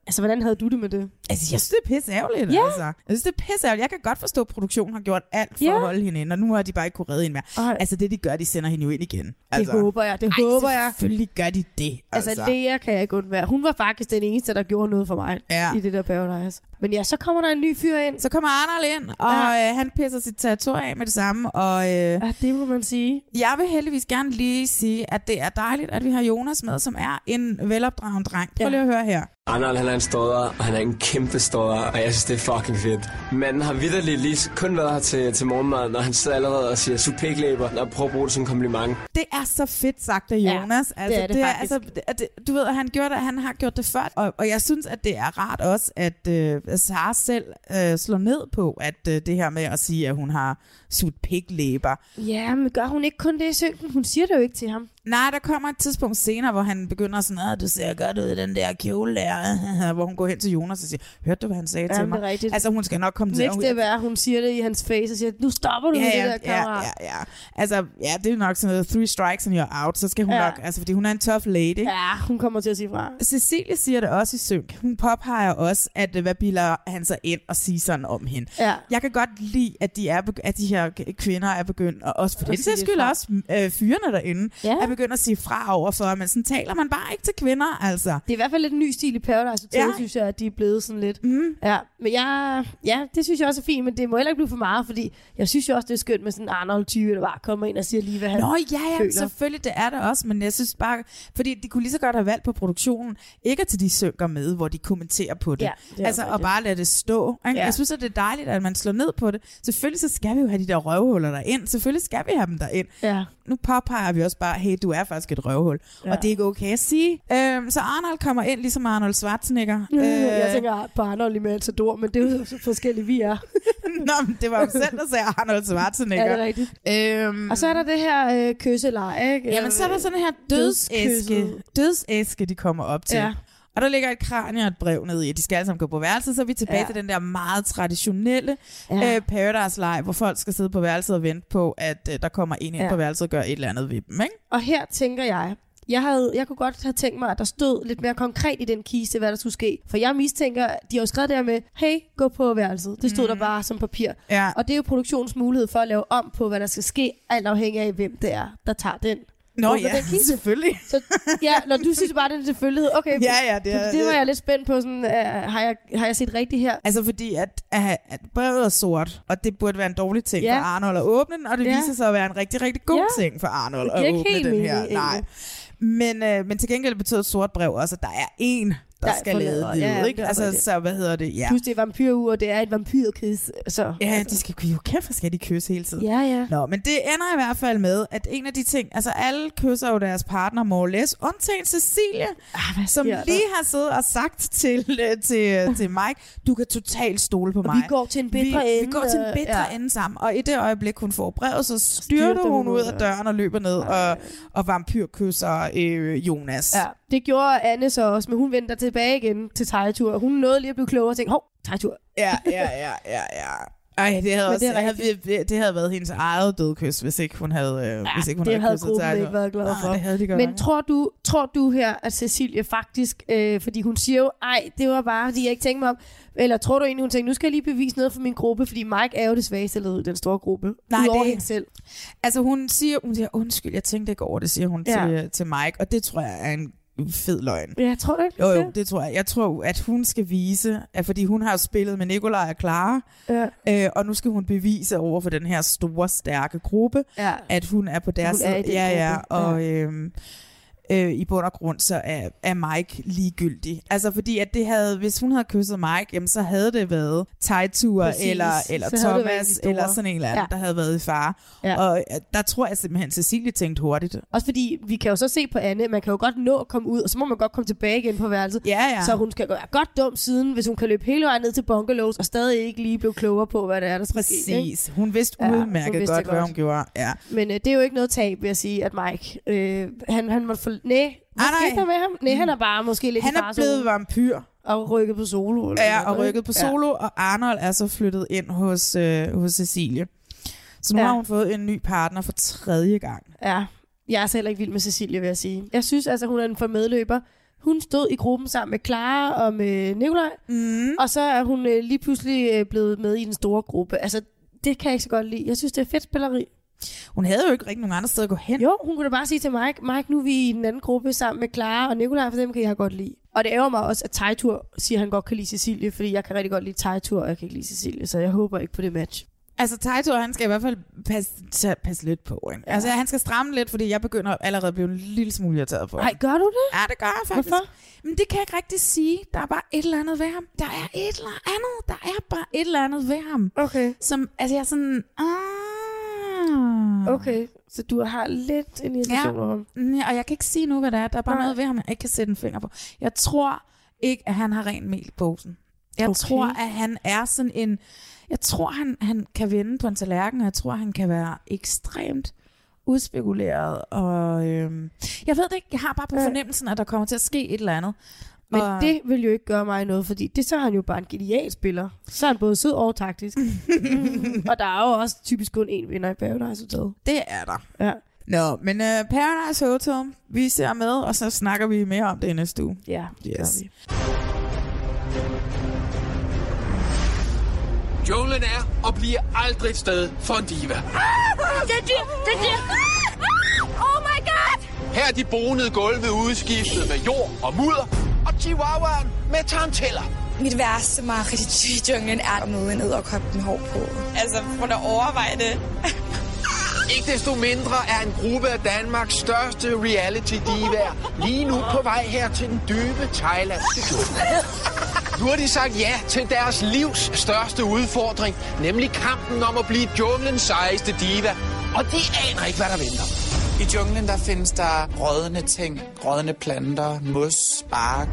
S2: altså hvordan havde du det med det?
S1: Altså, jeg synes, det er pisse ærgerligt,
S2: Ja.
S1: altså. Jeg synes, det er pisse ærgerligt. Jeg kan godt forstå, at produktionen har gjort alt for
S2: Ja.
S1: at holde hende inde, og nu har de bare ikke kunne redde hende mere. Ej. Altså, det de gør, de sender hende jo ind igen. Altså,
S2: håber jeg, det håber jeg.
S1: Selvfølgelig gør de det, altså.
S2: Altså, altså Lea kan jeg ikke undvære. Hun var faktisk den eneste, der gjorde noget for mig
S1: Ja.
S2: i det der Paradise. Men ja, så kommer der en ny fyr ind.
S1: Så kommer Arnold ind, og øh, han pisser sit territorie af med det samme. Og, øh, ja,
S2: det må man sige.
S1: Jeg vil heldigvis gerne lige sige, at det er dejligt, at vi har Jonas med, som er en velopdragen dreng. Prøv lige at høre her.
S16: Arnold, han er en stodder, og han er en kæmpe stodder, og jeg synes, det er fucking fedt. Manden har vidderligt lige kun været her til, til morgenmaden, og han sidder allerede og siger supeklæber, og prøver at bruge det som kompliment.
S1: Det er så fedt sagt af Jonas.
S16: det er det faktisk.
S1: altså, det- at det, du ved, at han, gjorde det, han har gjort det før, og, og jeg synes, at det er rart også, at øh, at Sara selv øh, slår ned på, at øh, det her med at sige, at hun har sugt piklæber.
S2: Ja, men gør hun ikke kun det i synken? Hun siger det jo ikke til ham.
S1: Nej, der kommer et tidspunkt senere, hvor han begynder sådan, at du ser godt ud i den der kjole der, hvor hun går hen til Jonas og siger, hørte du, hvad han sagde
S2: Ja,
S1: til
S2: men
S1: mig?
S2: det er rigtigt.
S1: Altså, hun skal nok komme til.
S2: Next step er, at hun siger det i hans face og siger, nu stopper du
S1: Ja,
S2: med
S1: ja,
S2: det der
S1: ja,
S2: kammerat.
S1: ja, ja. Altså, ja, det er nok sådan noget, three strikes and you're out, så skal hun
S2: Ja.
S1: nok, altså, fordi hun er en tough lady.
S2: Ja, hun kommer til at sige fra.
S1: Cecilie siger det også i synk. Hun påpeger også, at øh, hvad bilder han sig ind og siger sådan om hende.
S2: Ja.
S1: Jeg kan godt lide, at de, er, beg- at de her k- kvinder er begyndt, og også for
S2: At
S1: den
S2: sige
S1: sags
S2: det
S1: skyld
S2: fra.
S1: også øh, fyrene derinde, ja. er begyndt at sige fra overfor, men sådan taler man bare ikke til kvinder, altså.
S2: Det er i hvert fald lidt en ny stil i Paradise Hotel,
S1: Ja.
S2: ja. synes jeg, at de er blevet sådan lidt. Mm. Ja, men jeg, ja, det synes jeg også er fint, men det må heller ikke blive for meget, fordi jeg synes jo også, det er skønt med sådan en Arnold 20, der bare kommer ind og siger lige, hvad han
S1: Nå, ja, ja,
S2: føler.
S1: selvfølgelig, det er det også, men jeg synes bare, fordi de kunne lige så godt have valgt på produktionen, ikke til de synker med, hvor de kommenterer på det.
S2: Ja, det er
S1: altså, og
S2: rigtigt.
S1: bare lade det stå. Ikke? Ja.
S2: Ja.
S1: Jeg synes, at det er dejligt, at man slår ned på det. Selvfølgelig så skal vi jo have de de der røvhuller der ind. Selvfølgelig skal vi have dem der ind.
S2: Ja.
S1: Nu påpeger vi også bare, hey, du er faktisk et røvhul. Ja.
S2: Ja.
S1: Og det er ikke okay at sige. Øhm, så Arnold kommer ind, ligesom Arnold Schwarzenegger.
S2: Øh. Jeg tænker på Arnold i Matador, men det er jo så forskellige, vi er.
S1: Nå, men det var jo selv, der sagde Arnold Schwarzenegger.
S2: Ja, det er rigtigt.
S1: Øhm.
S2: Og så er der det her øh, kysseleje, ikke?
S1: Jamen, så er der sådan her dødsæske, dødsæske de kommer op til. øh,
S2: Ja.
S1: Ja. Og der ligger et kranie og et brev nede i. De skal alle sammen gå på værelset, så er vi tilbage
S2: Ja.
S1: ja. til den der meget traditionelle
S2: Ja.
S1: ja. øh, Paradise-leg, hvor folk skal sidde på værelset og vente på, at øh, der kommer en ind
S2: Ja.
S1: ja. på værelset og gør et eller andet ved dem. Ikke?
S2: Og her tænker jeg, jeg, havde, jeg kunne godt have tænkt mig, at der stod lidt mere konkret i den kiste, hvad der skulle ske. For jeg mistænker, de har jo skrevet der med, hey, gå på værelset. Det stod
S1: Mhm.
S2: mm. der bare som papir.
S1: Ja.
S2: Og det er jo produktionens mulighed for at lave om på, hvad der skal ske, alt afhængig af, hvem det er, der tager den.
S1: Nå
S2: Åbner
S1: ja,
S2: den kiste.
S1: selvfølgelig.
S2: Så, ja, når du synes bare, det er en selvfølgelighed. Okay,
S1: Ja, ja, det er-
S2: det var jeg lidt spændt på. Sådan, uh, har, jeg, har jeg set rigtigt her?
S1: Altså fordi, at, at, at brevet er sort, og det burde være en dårlig ting
S2: Ja.
S1: ja. for Arnold at åbne den, og det
S2: Ja.
S1: ja. viser sig at være en rigtig, rigtig god ja.
S2: Ja.
S1: ting for Arnold
S2: Det giver
S1: at
S2: ikke
S1: åbne
S2: helt
S1: den
S2: mening,
S1: her. Nej. Men, øh, men til gengæld betyder et sort brev også, at der er en, der,
S2: Der
S1: der
S2: er
S1: skal
S2: forlader.
S1: lede
S2: Ja,
S1: livet.
S2: det
S1: ikke?
S2: er
S1: Altså,
S2: rigtigt.
S1: så hvad hedder det? Ja.
S2: Plus det er vampyruge, og det er et vampyrkys. Så.
S1: Ja, de skal jo kæft, hvor skal de kysse hele tiden.
S2: Ja, ja.
S1: Nå, men det ender i hvert fald med, at en af de ting, altså alle kysser jo deres partner more or less, undtagen Cecilie,
S2: ah,
S1: som
S2: sker der?
S1: lige har siddet og sagt til, øh, til, til Mike, du kan totalt stole på
S2: Og
S1: mig.
S2: vi går til en bedre
S1: vi,
S2: ende. øh,
S1: Vi går til en bedre
S2: Ja.
S1: ja. ende sammen, og i det øjeblik, hun får brevet, så styrter hun,
S2: hun
S1: ud
S2: ud.
S1: af døren og løber ned og, og vampyrkysser øh, Jonas.
S2: Ja, det gjorde Anne så også, men hun vendte tilbage igen til Tejtur. Hun nåede lige at blive klogere og tænkte, hov, Tejtur.
S1: Ja, ja, ja, ja, ja. Ej, det havde,
S2: Men
S1: også,
S2: det
S1: det,
S2: er
S1: havde, det havde været hendes eget dødkys, hvis ikke hun havde, øh, hvis ikke hun
S2: det
S1: havde,
S2: havde
S1: kysset
S2: gruppen
S1: Tiger.
S2: ikke været glad for.
S1: Nej, det havde de godt
S2: Men
S1: nok.
S2: tror du, tror du her, at Cecilie faktisk, øh, fordi hun siger jo, ej, det var bare, fordi jeg ikke tænkte mig om, eller tror du egentlig, hun tænkte, nu skal jeg lige bevise noget for min gruppe, fordi Mike er jo det svageste led i den store gruppe.
S1: Nej,
S2: Udover
S1: det-
S2: hende selv.
S1: Altså hun siger, hun siger, undskyld, jeg tænkte ikke over det, siger hun
S2: Ja.
S1: ja. til, til Mike, og det tror jeg er en fed løgn.
S2: Ja, tror du ikke?
S1: Jo, jo, det tror jeg. Jeg tror, at hun skal vise, at fordi hun har jo spillet med Nikolaj og Clara,
S2: ja.
S1: øh, og nu skal hun bevise over for den her store, stærke gruppe,
S2: Ja.
S1: at hun er på deres
S2: Hun er i den
S1: Ja, ja,
S2: gruppe.
S1: og øhm, øh, i bund og grund, så er, er Mike ligegyldig. Altså fordi, at det havde, hvis hun havde kysset Mike, jamen, så havde det været Tejtur
S2: Præcis.
S1: eller, eller
S2: Så havde det været
S1: Thomas,
S2: de store.
S1: eller sådan en eller anden, ja.
S2: Ja.
S1: der havde været i fare.
S2: Ja.
S1: Og øh, der tror jeg simpelthen, Cecilie tænkte hurtigt.
S2: Også fordi, vi kan jo så se på Anne, man kan jo godt nå at komme ud, og så må man godt komme tilbage igen på værelset.
S1: Ja, ja.
S2: Så hun skal være godt dum siden, hvis hun kan løbe hele vejen ned til bungalows, og stadig ikke lige blive klogere på, hvad det er, der skal ske. ikke?
S1: Præcis. Hun vidste
S2: Ja, hun
S1: udmærket
S2: vidste
S1: godt,
S2: det
S1: hvad
S2: godt.
S1: hun gjorde. Ja.
S2: Men øh, det er jo ikke noget tab, vil jeg sige, at Mike, øh, han, han måtte få... Næh, hvad
S1: Ah, nej.
S2: skete der med ham? Næh, han er bare måske lidt
S1: Han
S2: i
S1: er
S2: farezonen.
S1: blevet vampyr.
S2: Og rykket på solo. Eller
S1: Ja,
S2: noget,
S1: og
S2: ikke?
S1: rykket på solo, ja. og Arnold er så flyttet ind hos, øh, hos Cecilie. Så nu
S2: Ja.
S1: ja. har hun fået en ny partner for tredje gang.
S2: Ja. ja. Jeg er så heller ikke vild med Cecilie, vil jeg sige. Jeg synes altså, hun er en for medløber. Hun stod i gruppen sammen med Clara og med Nikolaj,
S1: mm.
S2: og så er hun øh, lige pludselig øh, blevet med i den store gruppe. Altså, det kan jeg ikke så godt lide. Jeg synes, det er fedt spilleri.
S1: Hun havde jo ikke rigtig nogen andre steder at gå hen.
S2: Jo, hun kunne da bare sige til Mike, Mike, nu er vi i den anden gruppe sammen med Clara og Nikolaj, for dem kan jeg godt lide. Og det ærger mig også, at Tejtur siger, at han godt kan lide Cecilie, fordi jeg kan rigtig godt lide Tejtur, og jeg kan ikke lide Cecilie, så jeg håber ikke på det match.
S1: Altså, Taito, han skal i hvert fald passe, tage, passe lidt på. Ikke? Ja. Altså, han skal stramme lidt, fordi jeg begynder allerede at blive en lille smule irriteret på ham.
S2: Nej, gør du
S1: Ja,
S2: det?
S1: det gør jeg faktisk.
S2: Hvorfor?
S1: Men det kan jeg ikke rigtig sige. Der er bare et eller andet ved ham. Der er et eller andet. Der er bare et eller andet ved ham.
S2: Okay.
S1: Som, altså, jeg er sådan... Ah.
S2: Okay, så du har lidt en irritation over ham.
S1: Ja, og jeg kan ikke sige nu, hvad det er. Der er bare
S2: Nej.
S1: Nej. noget ved ham, jeg ikke kan sætte en finger på. Jeg tror ikke, at han har ren mel i posen. Jeg
S2: Okay.
S1: okay. tror, at han er sådan en... Jeg tror, han, han kan vende på en tallerken, og jeg tror, han kan være ekstremt udspekuleret. Og, øhm, jeg ved det ikke. Jeg har bare på
S2: Ja.
S1: fornemmelsen, at der kommer til at ske et eller andet.
S2: Øh. Men
S1: og,
S2: det vil jo ikke gøre mig noget, fordi det, så er han jo bare en genial spiller. Så er han både sød og taktisk. og der er jo også typisk kun én vinder i Paradise Hotel.
S1: det er der.
S2: Ja.
S1: Nå, men uh, Paradise Hotel, vi ser med, og så snakker vi mere om det i næste uge.
S2: Ja, det gør
S1: Yes.
S2: vi.
S17: Junglen er og bliver aldrig et sted for en diva.
S3: Det er dyr, det er dyr. Oh my god!
S17: Her er de bonede gulve udskiftet med jord og mudder.
S13: Og chihuahuaen med taranteller. Mit værste mareridt i junglen er at møde en edderkop med hår på. Altså, må da overveje det.
S17: Ikke desto mindre er en gruppe af Danmarks største reality divaer lige nu på vej her til den dybe thailandske jungle. Nu har de sagt ja til deres livs største udfordring, nemlig kampen om at blive junglens sejeste diva. Og de aner ikke, hvad der venter.
S18: I junglen der findes der rådne ting, rådne planter, mos, bark.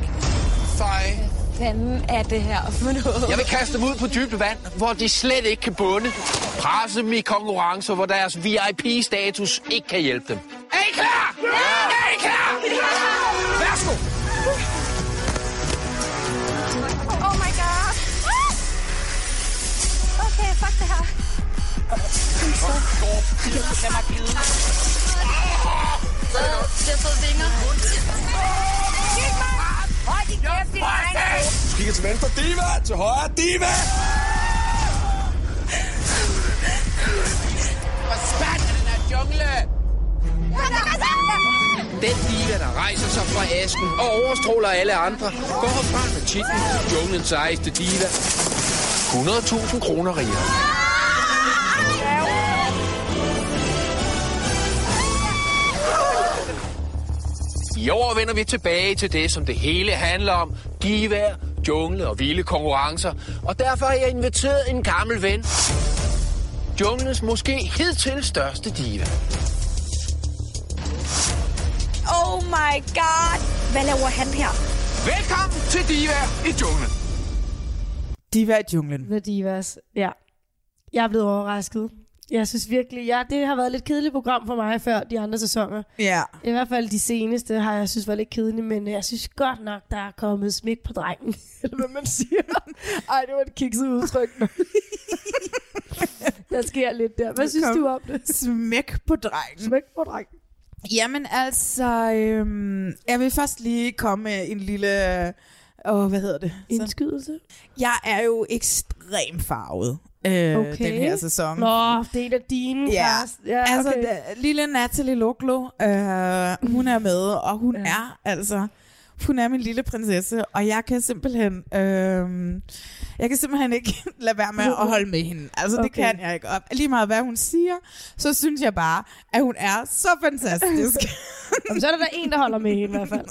S17: Fej.
S5: Fanden er det her oh for noget?
S17: Jeg vil kaste dem ud på dybt vand, hvor de slet ikke kan bunde. Presse dem i konkurrencer, hvor deres VIP-status ikke kan hjælpe dem. Er I klar? Ja! Er I klar? Værsgo!
S5: Oh my god.
S12: Oh,
S5: Ah! Okay, fuck det her.
S15: Det har fået vinger. Gik mig! Hold din kæft, din egen!
S3: Kigger til venstre, Diva! Til højre, Diva!
S17: Hvor spændt er den her jungle! Den diva, der rejser sig fra asken og overstråler alle andre, går herfra med titlen Junglens sejeste diva. 100.000 kroner rigere. I år vender vi tilbage til det, som det hele handler om. Divær, jungle og vilde konkurrencer. Og derfor har jeg inviteret en gammel ven. Junglens måske hidtil største diva.
S5: Oh my god. Hvad laver han her?
S17: Velkommen til Diva i junglen.
S1: Diva i junglen.
S2: The Divas, ja. Jeg er blevet overrasket. Jeg synes virkelig, ja, det har været et lidt kedeligt program for mig før de andre sæsoner.
S1: Ja.
S2: I hvert fald de seneste har jeg synes var lidt kedelige, men jeg synes godt nok, der er kommet smæk på drengen. Eller hvad man siger. Ej, det var et kikset udtryk. der sker lidt der. Hvad synes
S1: Kom.
S2: du om det?
S1: Smæk på drengen.
S2: Smæk på drengen.
S1: Jamen altså, øhm, jeg vil først lige komme med en lille... Åh, hvad hedder det?
S2: Indskydelse?
S1: Jeg er jo ekstremt farvet øh, okay. den her sæson.
S2: Nå, det er en af dine.
S1: Ja,
S2: Carsten. ja
S1: altså
S2: okay.
S1: da- lille Natalie Loklo, øh, hun er med, og hun ja. er altså, hun er min lille prinsesse, og jeg kan simpelthen, øh, jeg kan simpelthen ikke lade være med at holde med hende. Altså det
S2: Okay.
S1: kan jeg ikke. Og lige meget hvad hun siger, så synes jeg bare, at hun er så fantastisk.
S2: Jamen, så er der da en, der holder med hende i hvert fald.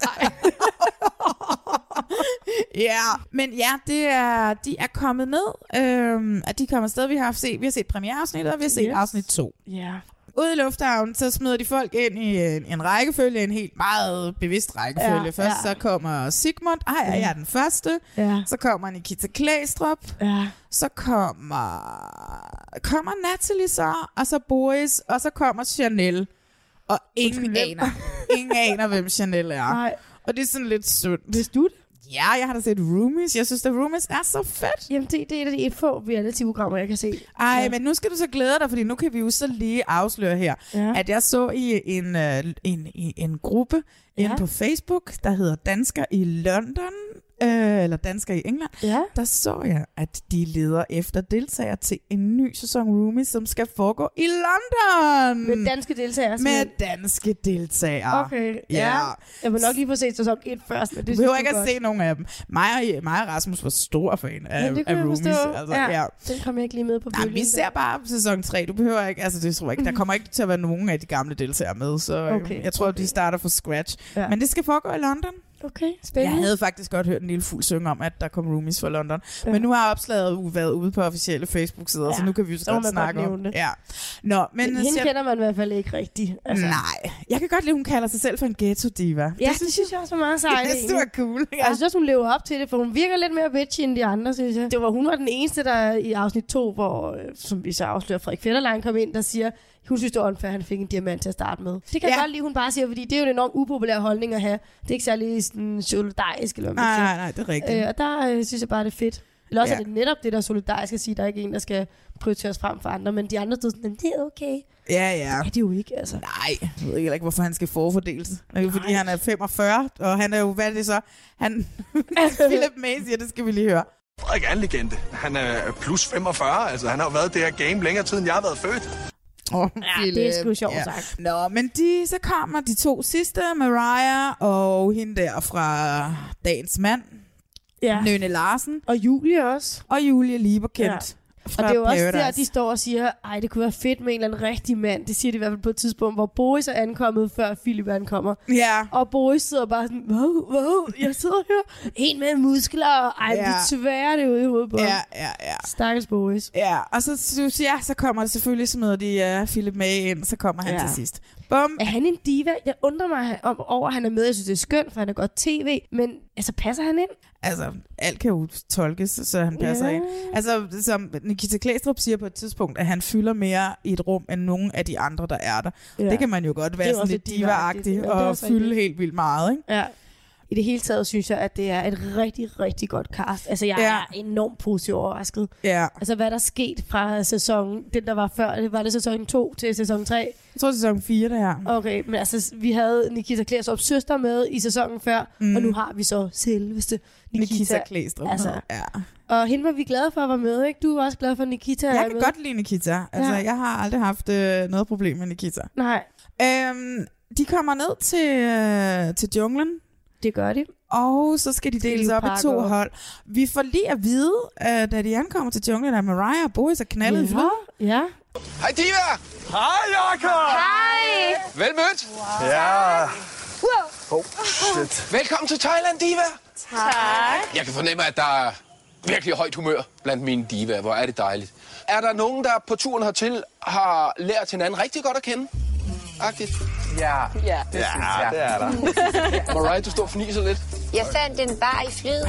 S1: Ja, men ja, det er, de er kommet ned, øhm, at de kommer afsted. Vi har set, vi har set premiereafsnittet, og vi har set yes.
S2: Yes.
S1: afsnit 2.
S2: Ja.
S1: Ude i lufthavnen, så smider de folk ind i en, en rækkefølge, en helt meget bevidst rækkefølge.
S2: Ja,
S1: Ja, Først
S2: ja.
S1: ja. så kommer Sigmund, ej, ej, jeg er den første.
S2: Ja.
S1: Så kommer Nikita Klæstrup.
S2: Ja.
S1: Så kommer, kommer Natalie så, og så Boris, og så kommer Chanel. Og ingen aner, ingen aner, hvem Chanel er.
S2: Nej.
S1: Og det er sådan lidt sundt.
S2: Hvis du det?
S1: Ja, jeg har da set Roomies. Jeg synes, at Roomies er så fedt.
S2: Jamen, det, det er et af de få reality-programmer, jeg kan se.
S1: Ej, ja. men nu skal du så glæde dig, fordi nu kan vi jo så lige afsløre her,
S2: Ja.
S1: ja. at jeg så i en, øh, en, i en gruppe ja. inde på Facebook, der hedder Dansker i London, øh, eller Dansker i England,
S2: ja.
S1: der så jeg, at de leder efter deltagere til en ny sæson Roomies, som skal foregå i London.
S2: Med danske
S1: Med
S2: deltagere. simpelthen.
S1: danske deltagere.
S2: Okay, ja.
S1: Ja.
S2: Jeg må nok lige få set sæson 1 først, men det
S1: Du behøver
S2: synes
S1: ikke
S2: jeg
S1: at se nogen af dem. Mig og, mig og Rasmus var store fan af,
S2: Jamen, det
S1: af
S2: kunne jeg
S1: Roomies.
S2: forstå.
S1: Altså, ja. ja.
S2: Den kom jeg ikke lige med på
S1: Nej,
S2: bølgen.
S1: vi ser bare sæson 3. Du behøver ikke, altså det tror jeg ikke. Der kommer ikke til at være nogen af de gamle deltagere med, så øh,
S2: Mhm. Okay,
S1: jeg tror, okay. de starter fra scratch.
S2: Ja.
S1: Ja. Men det skal foregå i London.
S2: Okay,
S1: Jeg
S2: spændende.
S1: havde faktisk godt hørt en lille fuld synge om, at der kom roomies fra London. Ja. Men nu har opslaget jo været ude på officielle Facebook-sider, ja. så
S2: Ja,
S1: nu kan vi jo så
S2: så må
S1: godt
S2: man
S1: snakke
S2: godt
S1: om
S2: nævne det.
S1: Ja. Nå, men
S2: Men hende
S1: siger-
S2: kender man i hvert fald ikke rigtigt. altså.
S1: Nej, jeg kan godt lide, hun kalder sig selv for en ghetto-diva.
S2: Ja, det, synes jeg også var meget sejt.
S1: Det er super cool.
S2: Ja. Jeg synes også, hun lever op til Altså, det, for hun virker lidt mere bitchy end de andre, synes jeg. Det var, hun var den eneste, der i afsnit 2, hvor, øh, som vi så afslører, Frederik Fetterlein kom ind, der siger, hun synes, det var unfair, at han fik en diamant til at starte med. Det kan ja.
S1: Ja.
S2: jeg godt lide, hun bare siger, fordi det er jo en enormt upopulær holdning at have. Det er ikke særlig sådan, solidarisk, eller hvad man
S1: Nej, nej,
S2: siger.
S1: nej, det er rigtigt.
S2: Øh, og der øh, synes jeg bare, det er fedt. Eller også ja.
S1: Ja.
S2: er det netop det, der er solidarisk at sige, der er ikke en, der skal prioriteres frem for andre, men de andre stod sådan, det er okay.
S1: Ja, ja.
S2: Det er de jo ikke, altså.
S1: Nej, jeg ved heller ikke, hvorfor han skal forfordeles. Det er jo fordi, han er 45, og han er jo, hvad er det så? Han, Philip May siger, det skal vi lige høre.
S19: Frederik er en legende. Han er plus 45, altså han har jo været i det her game længere tid, end jeg har været født.
S1: Oh,
S2: Ja, det er sgu sjovt sagt.
S1: Nå, men de, så kommer de to sidste, Mariah og hende der fra Dagens Mand,
S2: Ja.
S1: Nøne Larsen.
S2: Og Julie også.
S1: Og Julie Lieberkendt.
S2: Ja. Og
S1: fra
S2: det er jo også der,
S1: Paradise.
S2: de står og siger, ej, det kunne være fedt med en eller anden rigtig mand. Det siger de i hvert fald på et tidspunkt, hvor Boris er ankommet, før Philip ankommer.
S1: Ja.
S2: Og Boris sidder bare sådan, wow, wow, jeg sidder her. En med muskler, og ej,
S1: Ja.
S2: ja. det tværer det ud i hovedet på
S1: Ja,
S2: ham.
S1: ja, ja.
S2: Stakkels Boris.
S1: Ja, og så, så- ja, så kommer det selvfølgelig, smider de uh, Philip med ind, så kommer han
S2: Ja.
S1: til sidst. Bum.
S2: Er han en diva? Jeg undrer mig han- om- over, at han er med. Jeg synes, det er skønt, for han er godt tv. Men altså, passer han ind?
S1: Altså, alt kan jo tolkes, så han passer
S2: Ja.
S1: ind. Altså, som Nikita Klæstrup siger på et tidspunkt, at han fylder mere i et rum, end nogen af de andre, der er der.
S2: Ja.
S1: Det kan man jo godt
S2: Det
S1: være
S2: er
S1: sådan
S2: også
S1: lidt
S2: lidt diva-agtigt.
S1: diva-agtig
S2: Ja, det er
S1: og
S2: også
S1: fylde
S2: rigtigt.
S1: helt vildt meget, ikke?
S2: Ja. I det hele taget synes jeg, at det er et rigtig, rigtig godt cast. Altså, jeg
S1: Ja.
S2: ja. er enormt positivt overrasket.
S1: Ja.
S2: Altså, hvad der er sket fra sæsonen, den der var før, det var det sæson 2 til sæson 3?
S1: Jeg tror, det er sæson 4, det her.
S2: Okay, men altså, vi havde Nikita Klæstrup søster med i sæsonen før,
S1: Mm.
S2: mm. og nu har vi så selveste Nikita.
S1: Nikita Klæstrup.
S2: Altså,
S1: ja.
S2: og hende var vi glade for at være med, ikke? Du var også glad for, at Nikita er
S1: Jeg kan
S2: med.
S1: godt lide Nikita. Altså, ja.
S2: Ja.
S1: jeg har aldrig haft øh, noget problem med Nikita.
S2: Nej.
S1: Øhm, de kommer ned til, øh, til junglen.
S2: Det gør de.
S1: Og så skal de deles
S2: Liv
S1: op i to
S2: Parker.
S1: hold. Vi får lige at vide, øh, da de ankommer til junglen, at Mariah og Boris er knaldet i
S2: Ja.
S1: flyet.
S2: Ja.
S19: Hej Diva! Hej Jakob!
S15: Hej.
S19: Vel mødt! Wow. Ja. Oh, shit.
S17: Velkommen til Thailand, Diva.
S15: Tak.
S17: Jeg kan fornemme, at der er virkelig højt humør blandt mine divaer. Hvor er det dejligt. Er der nogen, der på turen hertil har lært hinanden rigtig godt at kende? Agtigt. Ja,
S15: Ja.
S17: det synes jeg.
S15: det er der.
S17: Mariah, du står og fniser lidt.
S20: Jeg fandt en bar i flyet.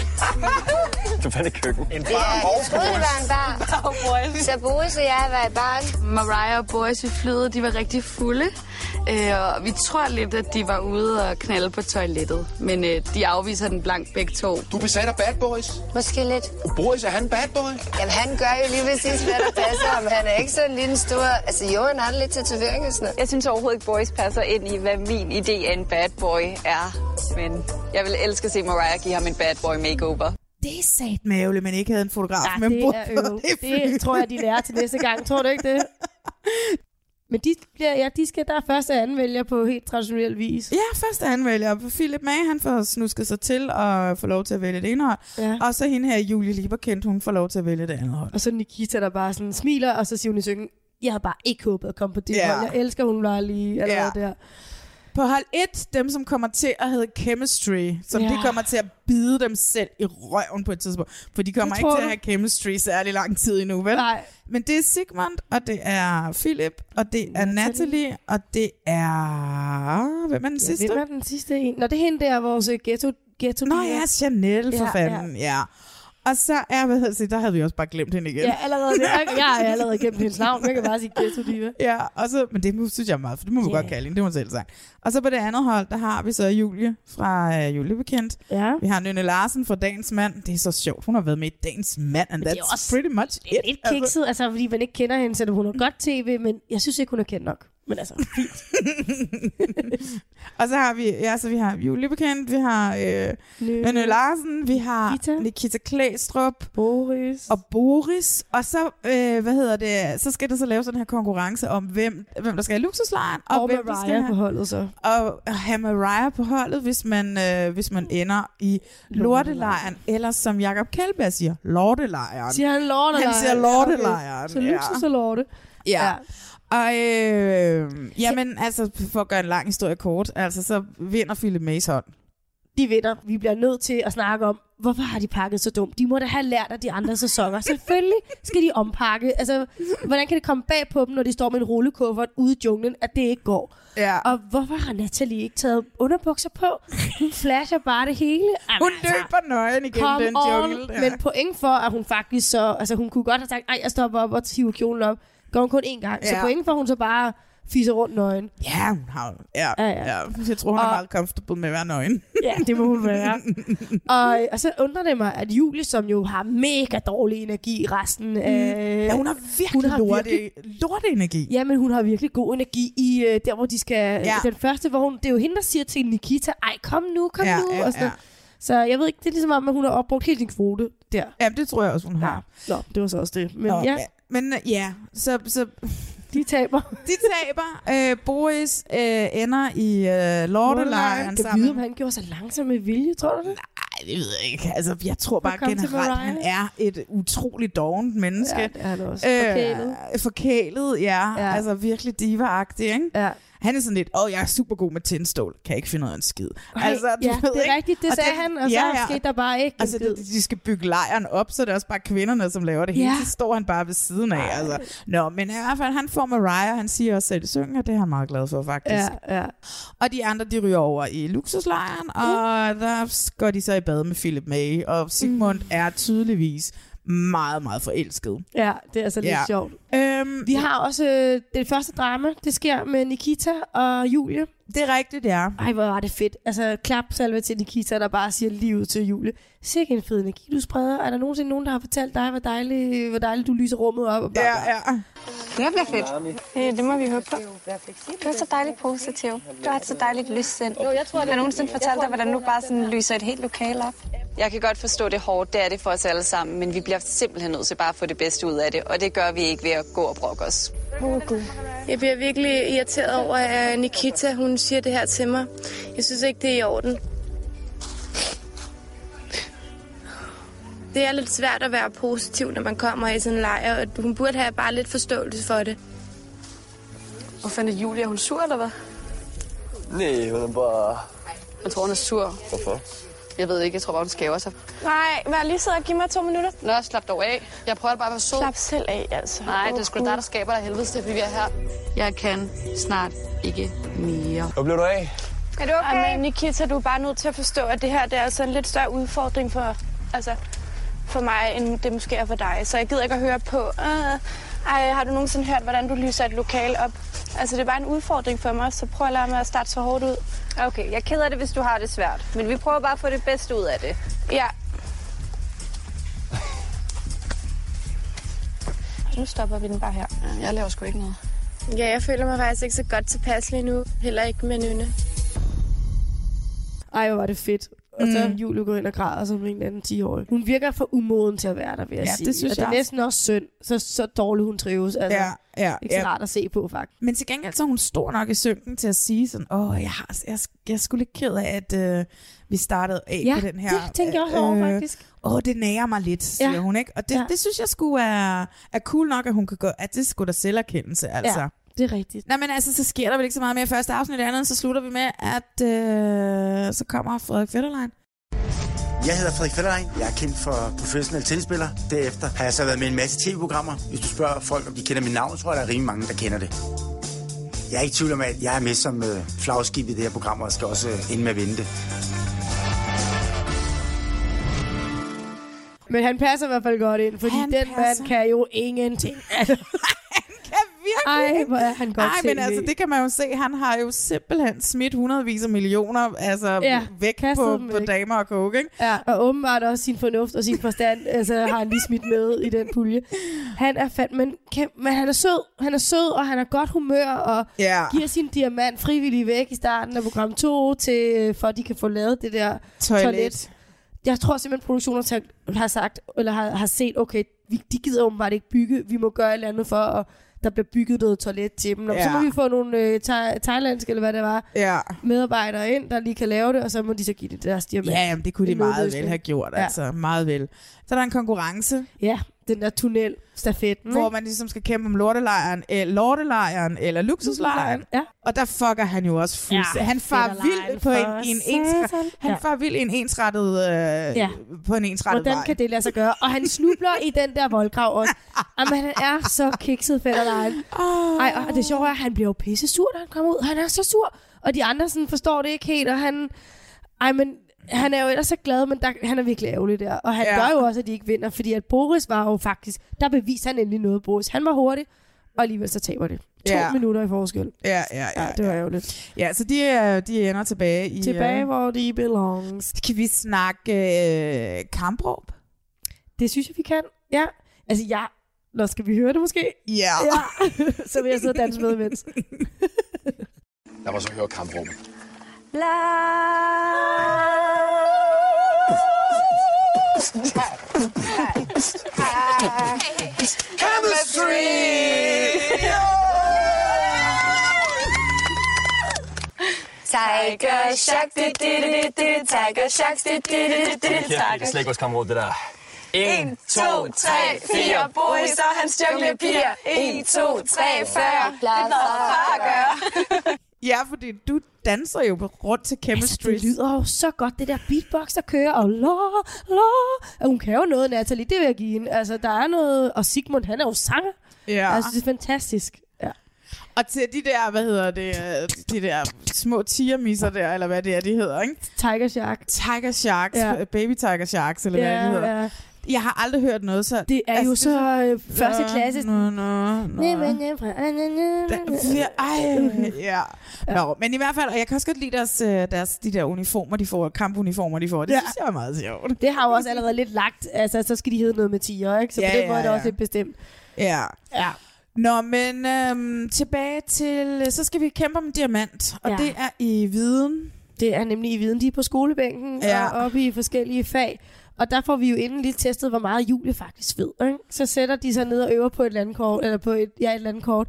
S17: Du fandt et køkken. En
S20: jeg troede, det var en bar. Så Boris og jeg var i baren.
S21: Mariah og Boris i flyet, de var rigtig fulde. Øh, og vi tror lidt, at de var ude og knalde på toilettet. Men øh, de afviser den blank begge to.
S17: Du besat af bad boys?
S20: Måske lidt.
S17: Boris, er han bad boy?
S20: Jamen, han gør jo lige præcis, hvad der passer ham. Han er ikke sådan en lille stor... Altså, jo, han har lidt tatovering og sådan noget.
S21: Jeg synes overhovedet ikke, Boris passer ind i, hvad min idé af en bad boy er. Men jeg vil elske at se Mariah give ham en bad boy makeover.
S1: Det er sat med ærgerligt, men ikke havde en fotograf.
S2: Ja,
S1: men
S2: Ah, det
S1: Boris-
S2: er øv. Det tror jeg, de lærer til næste gang. Tror du ikke det? Men de, bliver, ja, de skal der er første og anden vælger på helt traditionel vis.
S1: Ja, først er han vælger Philip May, han får snusket sig til og får lov til at vælge det ene hold.
S2: Ja.
S1: Og så hende her, Julie Lieberkendt, hun får lov til at vælge det andet hold.
S2: Og så Nikita, der bare sådan smiler, og så siger hun i synken, jeg havde bare ikke håbet at komme på det
S1: Ja.
S2: yeah. hold. Jeg elsker, hun var lige allerede
S1: Ja.
S2: yeah. der.
S1: På hold 1, dem som kommer til at hedde Chemistry, som ja.
S2: Ja.
S1: de kommer til at bide dem selv i røven på et tidspunkt. For de kommer
S2: Det
S1: ikke
S2: tror
S1: til at
S2: du?
S1: have Chemistry særlig lang tid endnu, vel?
S2: Nej.
S1: Men det er Sigmund, og det er Philip, og det er Natalie, og det er... Hvem er den sidste?
S2: Ja, hvem er den sidste en? Nå, det er hende der, vores øh, ghetto, ghetto
S1: Nå ja, Chanel for ja,
S2: Ja,
S1: fanden, ja. ja. Og så er, hvad hedder det, der havde vi også bare glemt hende igen.
S2: Ja, allerede det. Jeg- Jeg har allerede gemt hendes navn. Jeg kan bare sige ghetto diva.
S1: Ja, og så, men det synes jeg er meget, for det må man
S2: Ja.
S1: godt kalde hende, det må man selv sagt. Og så på det andet hold, der har vi så Julie fra øh, Julie Bekendt.
S2: Ja.
S1: Vi har Nynne Larsen fra Dagens Mand. Det er så sjovt, hun har været med i Dagens Mand, and
S2: Men det er
S1: that's
S2: også
S1: pretty much it.
S2: Lidt kikset, altså fordi man ikke kender hende, så hun er godt tv, men jeg synes ikke, hun er kendt nok. Men altså,
S1: Og så har vi, ja, så vi har Julie Bekendt, vi har øh, Nynne Larsen, vi har Nikita, Nikita Klæstrup,
S2: Boris.
S1: og Boris. Og så, øh, hvad hedder det, så skal der så laves den her konkurrence om, hvem, hvem der skal i luksuslejren, og,
S2: Og
S1: hvem der skal
S2: Mariah
S1: have-
S2: på holdet så.
S1: Og have Mariah på holdet, hvis man, øh, hvis man ender i lortelejren, eller som Jakob Kjellberg siger, lortelejren.
S2: siger han lortelejren.
S1: Han siger lortelejren,
S2: Okay. Så
S1: ja.
S2: luksus og lorte.
S1: Ja. Og øh, jamen, altså, for at gøre en lang historie kort, altså, så vinder Philip Mays hånd.
S2: de vinder. Vi bliver nødt til at snakke om, hvorfor har de pakket så dumt? De må da have lært af de andre sæsoner. Selvfølgelig skal de ompakke. Altså, hvordan kan det komme bag på dem, når de står med en rullekuffert ude i junglen, at det ikke går?
S1: Ja.
S2: Og hvorfor har Natalie ikke taget underbukser på? Hun flasher bare det hele. Jamen, altså,
S1: Hun løber nøgen igennem
S2: come
S1: den
S2: on.
S1: jungle. der.
S2: Men point for, at hun faktisk så... Altså, hun kunne godt have sagt, ej, jeg stopper op og hiver kjolen op. Gør hun kun én gang. Så
S1: Ja.
S2: point for, at hun så bare fiser rundt nøgen.
S1: Ja, hun har, ja, ja,
S2: Ja,
S1: ja.
S2: ja.
S1: ja. Jeg tror, hun er
S2: Og-
S1: meget comfortable med at være nøgen.
S2: Ja, det må hun være. og, og så undrer det mig, at Julie, som jo har mega dårlig energi i resten af...
S1: Mm. ja, hun har virkelig lorte- lorte energi.
S2: Ja, men hun har virkelig god energi i øh, der, hvor de skal...
S1: Ja.
S2: Ja. Den første, hvor hun... Det er jo hende, der siger til Nikita, ej, kom nu, kom
S1: Ja,
S2: nu,
S1: ja,
S2: og sådan
S1: ja.
S2: noget. Så jeg ved ikke, det er ligesom om, at hun har opbrugt hele sin kvote der.
S1: Ja, det tror jeg også, hun har.
S2: Nå, det var så også det. Men
S1: Nå,
S2: ja,
S1: ja. Men øh, ja, så... så
S2: de taber.
S1: de taber. Øh, Boris øh, ender i øh, lortelejren
S2: Kan vide,
S1: sammen.
S2: om han gjorde sig langsomt med vilje, tror du det?
S1: det ved jeg ikke. Altså, jeg tror bare
S2: Velkommen til
S1: generelt, han
S2: Mariah.
S1: er et utroligt dovent menneske.
S2: Ja, det er han også.
S1: Øh, forkælet, ja. ja. Altså virkelig diva-agtig, ikke?
S2: Ja.
S1: Han er sådan lidt, åh, jeg er super god med tændstål. Kan ikke finde ud af en skid. Altså,
S2: Nej, ja, det er rigtigt, det
S1: Og
S2: sagde han, og så skete der bare ikke en
S1: Altså,
S2: skid.
S1: de, de skal bygge lejren op, så det er også bare kvinderne, som laver det hele.
S2: Ja.
S1: Så står han bare ved siden af. Altså. Nå, men i hvert fald, han får Mariah, og han siger også selv, at synge, og det er han meget glad for, faktisk.
S2: Ja, ja.
S1: Og de andre, de ryger over i luksuslejren, og der går de så i bad med Philip May, og Sigmund mm. er tydeligvis meget, meget forelsket.
S2: Ja, det er altså lidt
S1: Ja.
S2: sjovt.
S1: Øhm,
S2: Vi har også øh, det første drama, det sker med Nikita og Julie.
S1: Det er rigtigt, ja.
S2: Ej, hvor var det fedt. Altså, klap salve til Nikita, der bare siger livet til Julie. Sikke en fed energi, du spreder. Er der nogensinde nogen, der har fortalt dig, hvor dejligt hvor dejlig du lyser rummet op? Og bla, bla.
S1: Ja, ja.
S2: Det bliver fedt.
S12: Øh, det må vi håbe på. Du er så dejligt positiv. Du har et så dejligt lyssind. Jeg tror, jeg nogensinde fortalt dig, hvordan du bare sådan lyser et helt lokale op.
S22: Jeg kan godt forstå det er hårdt, det er det for os alle sammen, men vi bliver simpelthen nødt til bare at få det bedste ud af det, og det gør vi ikke ved at gå og brokke os.
S7: Oh, Gud. Jeg bliver virkelig irriteret over, at Nikita hun siger det her til mig. Jeg synes ikke, det er i orden. Det er lidt svært at være positiv, når man kommer i sådan en lejr, og hun burde have bare lidt forståelse for det. Hvor fanden er Julia? Er hun sur, eller hvad?
S16: Nej, hun er bare...
S7: Jeg tror, hun er sur.
S16: Hvorfor?
S7: Jeg ved ikke, jeg tror bare, hun skæver sig.
S12: Nej, vær lige sød og giv mig to minutter.
S7: Nå, slap dog af. Jeg prøver bare at være sød.
S12: Slap selv af, altså.
S7: Nej, det er
S12: Åh,
S7: sgu da
S12: Gud.
S7: dig, der skaber dig helvedes til, fordi vi er her.
S21: Jeg kan snart ikke mere.
S16: Hvad blev du af?
S7: Er du okay? Amen,
S12: Nikita, du er bare nødt til at forstå, at det her det er altså en lidt større udfordring for, altså, for mig, end det måske er for dig. Så jeg gider ikke at høre på, øh, ej, har du nogensinde hørt, hvordan du lyser et lokal op? Altså, det er bare en udfordring for mig, så prøv at lade mig at starte så hårdt ud.
S22: Okay, jeg keder det, hvis du har det svært, men vi prøver bare at få det bedste ud af det.
S12: Ja. Nu stopper vi den bare her.
S7: Jeg laver sgu ikke noget. Ja, jeg føler mig faktisk ikke så godt tilpas lige nu. Heller ikke med Nynne.
S2: Ej, hvor var det fedt. Og så
S1: Mm.
S2: mm. Julie går ind og græder som en eller anden 10-årig. Hun virker for umoden til at være der, vil jeg
S1: Ja,
S2: sige.
S1: det synes
S2: og det er
S1: jeg.
S2: næsten også synd, så, så dårligt hun trives. Altså,
S1: Ja, ja,
S2: ikke så
S1: ja.
S2: rart at se på, faktisk.
S1: Men til gengæld så er hun stor nok i synken til at sige sådan, åh, jeg, har, jeg, jeg er sgu lidt ked af, at øh, vi startede af
S2: Ja,
S1: på den her.
S2: det tænker jeg også
S1: Øh,
S2: over, faktisk.
S1: Åh, det nærer mig lidt, siger
S2: Ja.
S1: hun, ikke? Og det, ja.
S2: Ja.
S1: det synes jeg sgu er, er cool nok, at hun kan gå, at det skulle da selverkendelse, altså.
S2: Ja, det er rigtigt.
S1: Nå, men altså, så sker der vel ikke så meget mere i første afsnit, andet end så slutter vi med, at øh, så kommer Frederik Fetterlein.
S23: Jeg hedder Frederik Fetterlein. Jeg er kendt for professionel tennisspiller. Derefter har jeg så været med i en masse tv-programmer. Hvis du spørger folk, om de kender mit navn, tror jeg, der er rimelig mange, der kender det. Jeg er ikke i tvivl om, at jeg er med som øh, flagskib i det her program, og skal også øh, ende med at vinde det.
S2: Men han passer i hvert fald godt ind, fordi
S1: Han
S2: han den
S1: passer.
S2: passer. mand kan jo ingenting. Altså,
S1: virkelig.
S2: Ej, hvor er han godt
S1: Ej, men
S2: tv.
S1: altså, det kan man jo se. Han har jo simpelthen smidt hundredvis af millioner altså, ja,
S2: Ja,
S1: væk
S2: kastet
S1: på,
S2: dem
S1: på
S2: væk.
S1: damer og coke, ikke?
S2: ja, og åbenbart også sin fornuft og sin forstand, altså har han lige smidt med i den pulje. Han er fandme, men, kæm- men han er sød, han er sød, og han er godt humør, og
S1: Ja.
S2: giver sin diamant frivillig væk i starten af program 2, til, øh, for at de kan få lavet det der
S1: Toilet.
S2: toilet. toilet. Jeg tror simpelthen, at produktionen har tænkt- har sagt, eller har, har set, okay, vi, de gider åbenbart ikke bygge, vi må gøre et eller andet for, og der bliver bygget noget toilet til dem. Og ja. så må
S1: Ja.
S2: vi få nogle øh, thai- thailandske, eller hvad det var,
S1: Ja.
S2: medarbejdere ind, der lige kan lave det, og så må de så give det deres diamant.
S1: Ja, jamen, det kunne de
S2: En
S1: meget
S2: nødløsning.
S1: vel have gjort, ja. altså. Meget vel. Så er der en konkurrence.
S2: Ja, den der tunnel stafetten,
S1: Hvor
S2: ikke?
S1: man ligesom skal kæmpe om lortelejren, øh, lortelejren eller luksuslejren.
S2: Ja.
S1: Og der fucker han jo også fuldstændig. Ja,
S2: Ja,
S1: han far
S2: fedterlejen
S1: vild på en,
S2: for
S1: i en
S2: satan.
S1: ensrettet, han
S2: Ja.
S1: far vild i en ensrettet, øh, ja.
S2: Ja.
S1: på en ensrettet
S2: Hvordan
S1: vej.
S2: kan det lade sig gøre? Og han snubler i den der voldgrav også. Jamen, han er så kikset fætterlejen.
S1: Oh.
S2: Ej, og det sjove er, at han bliver jo pisse sur, da han kommer ud. Han er så sur. Og de andre sådan, forstår det ikke helt, og han... Ej, men han er jo ellers så glad, men der, han er virkelig ærgerlig der. Og han
S1: Ja.
S2: ja. gør jo også, at de ikke vinder, fordi at Boris var jo faktisk... Der beviste han endelig noget, Boris. Han var hurtig, og alligevel så taber det. To
S1: Ja.
S2: ja. minutter i forskel.
S1: Ja, ja, ja.
S2: det var ærgerligt.
S1: Ja, så de, øh, de ender tilbage i...
S2: Tilbage,
S1: øh,
S2: hvor de belongs.
S1: Kan vi snakke øh, kampråb?
S2: Det synes jeg, vi kan. Ja. Altså, jeg... Nå, skal vi høre det måske?
S1: Ja.
S2: ja. så vil jeg sidde og danse med imens.
S11: Lad mig så høre kamprummet.
S20: Chemistry! Tak.
S15: Tiger Shark, det det det det det Tiger Shark, det det det det det Tiger Shark.
S6: slægtgårdskammeråd, det der.
S15: 1, 2, 3, 4, Boris og hans junglepiger. 1, 2, 3, 40, det er noget far at gøre.
S1: Ja, fordi du danser jo rundt til chemistry.
S2: Altså, det lyder jo så godt, det der beatbox, der kører, og la, la. Og hun kan jo noget, Natalie, det vil jeg give hende. Altså, der er noget, og Sigmund, han er jo sanger.
S1: Ja.
S2: Altså, det er fantastisk. Ja.
S1: Og til de der, hvad hedder det, øh, de der små tigermisser der, eller hvad det er, de hedder, ikke?
S2: Tiger Shark.
S1: Tiger Sharks,
S2: Ja.
S1: ja. baby tiger sharks, eller
S2: Ja,
S1: hvad det hedder.
S2: ja.
S1: Jeg har aldrig hørt noget så... Altså,
S2: Det er jo så øh, første
S1: Nå,
S2: klasse.
S1: Nå, nå, nå. Ja, Ej, ja. Nå, men i hvert fald, og jeg kan også godt lide deres, øh, deres, de der uniformer, de får, kampuniformer, de får. Det
S2: Ja.
S1: ja. synes jeg er meget sjovt.
S2: Det har jo også allerede lidt lagt, altså så skal de hedde noget med tiger, ikke? Så på
S1: Ja,
S2: den
S1: ja,
S2: måde er det
S1: ja.
S2: også lidt bestemt.
S1: Ja.
S2: ja.
S1: Nå, men øhm, tilbage til, øh, så skal vi kæmpe om en diamant, og
S2: Ja.
S1: ja. det er i viden.
S2: Det er nemlig i viden, de er på skolebænken ja.
S1: Ja.
S2: og oppe i forskellige fag. Og der får vi jo inden lige testet, hvor meget Julie faktisk ved. Ikke? Så sætter de sig ned og øver på et landkort, eller på et, ja, et landkort.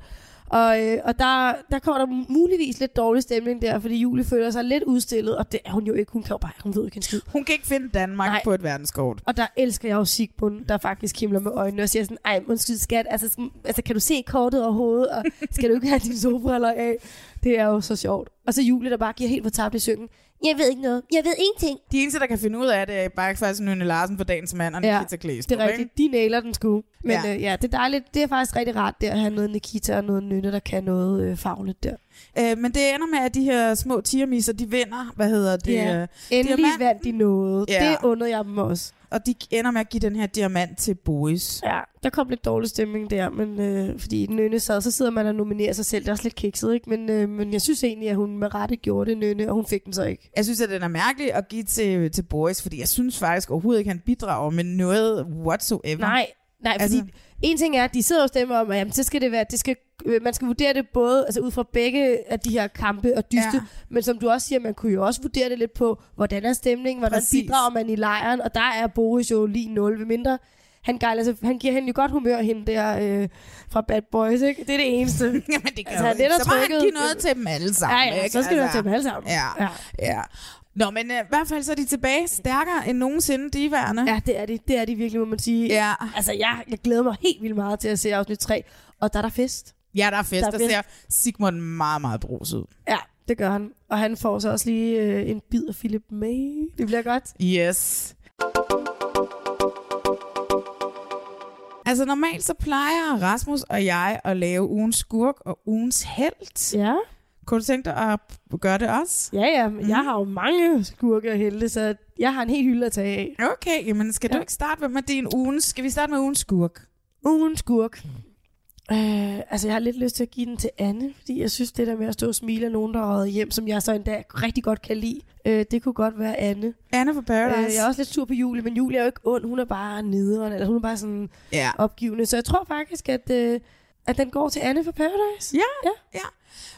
S2: Og, øh, og der, der kommer der muligvis lidt dårlig stemning der, fordi Julie føler sig lidt udstillet, og det er hun jo ikke. Hun kan jo bare, hun ved jo ikke en skid.
S1: Hun kan ikke finde Danmark
S2: Nej.
S1: på et verdenskort.
S2: Og der elsker jeg jo Sigmund, der faktisk himler med øjnene og siger sådan, ej, undskyld skat, altså, skal- altså kan du se kortet overhovedet, og skal du ikke have dine solbriller af? Det er jo så sjovt. Og så Julie, der bare giver helt fortabt i syngen. Jeg ved ikke noget. Jeg ved ingenting.
S1: De eneste, der kan finde ud af det, er bare faktisk Nynne Larsen på dagens mand og
S2: Ja,
S1: Nikita Klæstrup,
S2: Det er rigtigt. De nailer den sgu. Men ja.
S1: Ja.
S2: Øh, ja, det er dejligt. Det er faktisk rigtig rart der at have noget Nikita og noget Nynne, der kan noget øh, fagligt der.
S1: Øh, men det ender med, at de her små tigermisser, de vinder, hvad hedder det?
S2: Ja.
S1: øh,
S2: Endelig
S1: diamanten.
S2: vandt de noget.
S1: Ja.
S2: Det undrede jeg dem også.
S1: Og de ender med at give den her diamant til Boris.
S2: Ja, der kom lidt dårlig stemning der, men øh, fordi Nynne sad, så sidder man og nominerer sig selv. Det er også lidt kikset, ikke? Men, øh, men jeg synes egentlig, at hun med rette gjorde det, Nynne, og hun fik den så ikke.
S1: Jeg synes, at den er mærkelig at give til, til Boris, fordi jeg synes faktisk overhovedet ikke, han bidrager med noget whatsoever.
S2: Mm. Nej, nej, fordi altså... en ting er, at de sidder og stemmer om, at jamen, så skal det være, det skal, øh, man skal vurdere det både altså ud fra begge af de her kampe og dyste, ja.
S1: Ja.
S2: men som du også siger, man kunne jo også vurdere det lidt på, hvordan er stemningen, hvordan Præcis.
S1: Præcis.
S2: bidrager man i lejren, og der er Boris jo lige 0, ved mindre han, gejler, sig- han giver hende jo godt humør, hende der øh, fra Bad Boys, ikke? Det er det eneste. Jamen,
S1: det
S2: Altså,
S1: kan jo ikke. Så må han give noget til dem alle sammen,
S2: Ja, ja,
S1: ikke?
S2: så skal altså...
S1: Altså,
S2: det til dem alle sammen.
S1: ja. Ja. Nå, men øh, i hvert fald så er de tilbage stærkere end nogensinde, de værende.
S2: Ja, det er de. Det er de virkelig, må man sige.
S1: Ja.
S2: Altså, jeg, jeg glæder mig helt vildt meget til at se afsnit 3, og der er der fest.
S1: Ja, der er fest.
S2: Der er
S1: Der, der
S2: fest.
S1: ser Sigmund meget, meget bruset ud.
S2: Ja, det gør han. Og han får så også lige øh, en bid af Philip May. Det bliver godt.
S1: Yes. Altså normalt så plejer Rasmus og jeg at lave ugens skurk og ugens held.
S2: Ja.
S1: Kunne du tænke dig at gøre det også?
S2: Ja, ja. Mm. Jeg har jo mange skurke og helte, så jeg har en hel hylde at tage af.
S1: Okay, jamen skal ja.
S2: Ja.
S1: du ikke starte med- med din ugens? Skal vi starte med ugens skurk?
S2: Ugens skurk. Øh, altså, jeg har lidt lyst til at give den til Anne, fordi jeg synes, det der med at stå og smile af nogen, der har røget hjem, som jeg så en dag rigtig godt kan lide, øh, det kunne godt være Anne.
S1: Anne fra Paradise.
S2: Øh, jeg er også lidt sur på Julie, men Julie er jo ikke ond. Hun er bare nederen, eller hun er bare sådan
S1: Ja.
S2: opgivende. Så jeg tror faktisk, at, øh, at den går til Anne fra Paradise.
S1: Ja, ja. ja.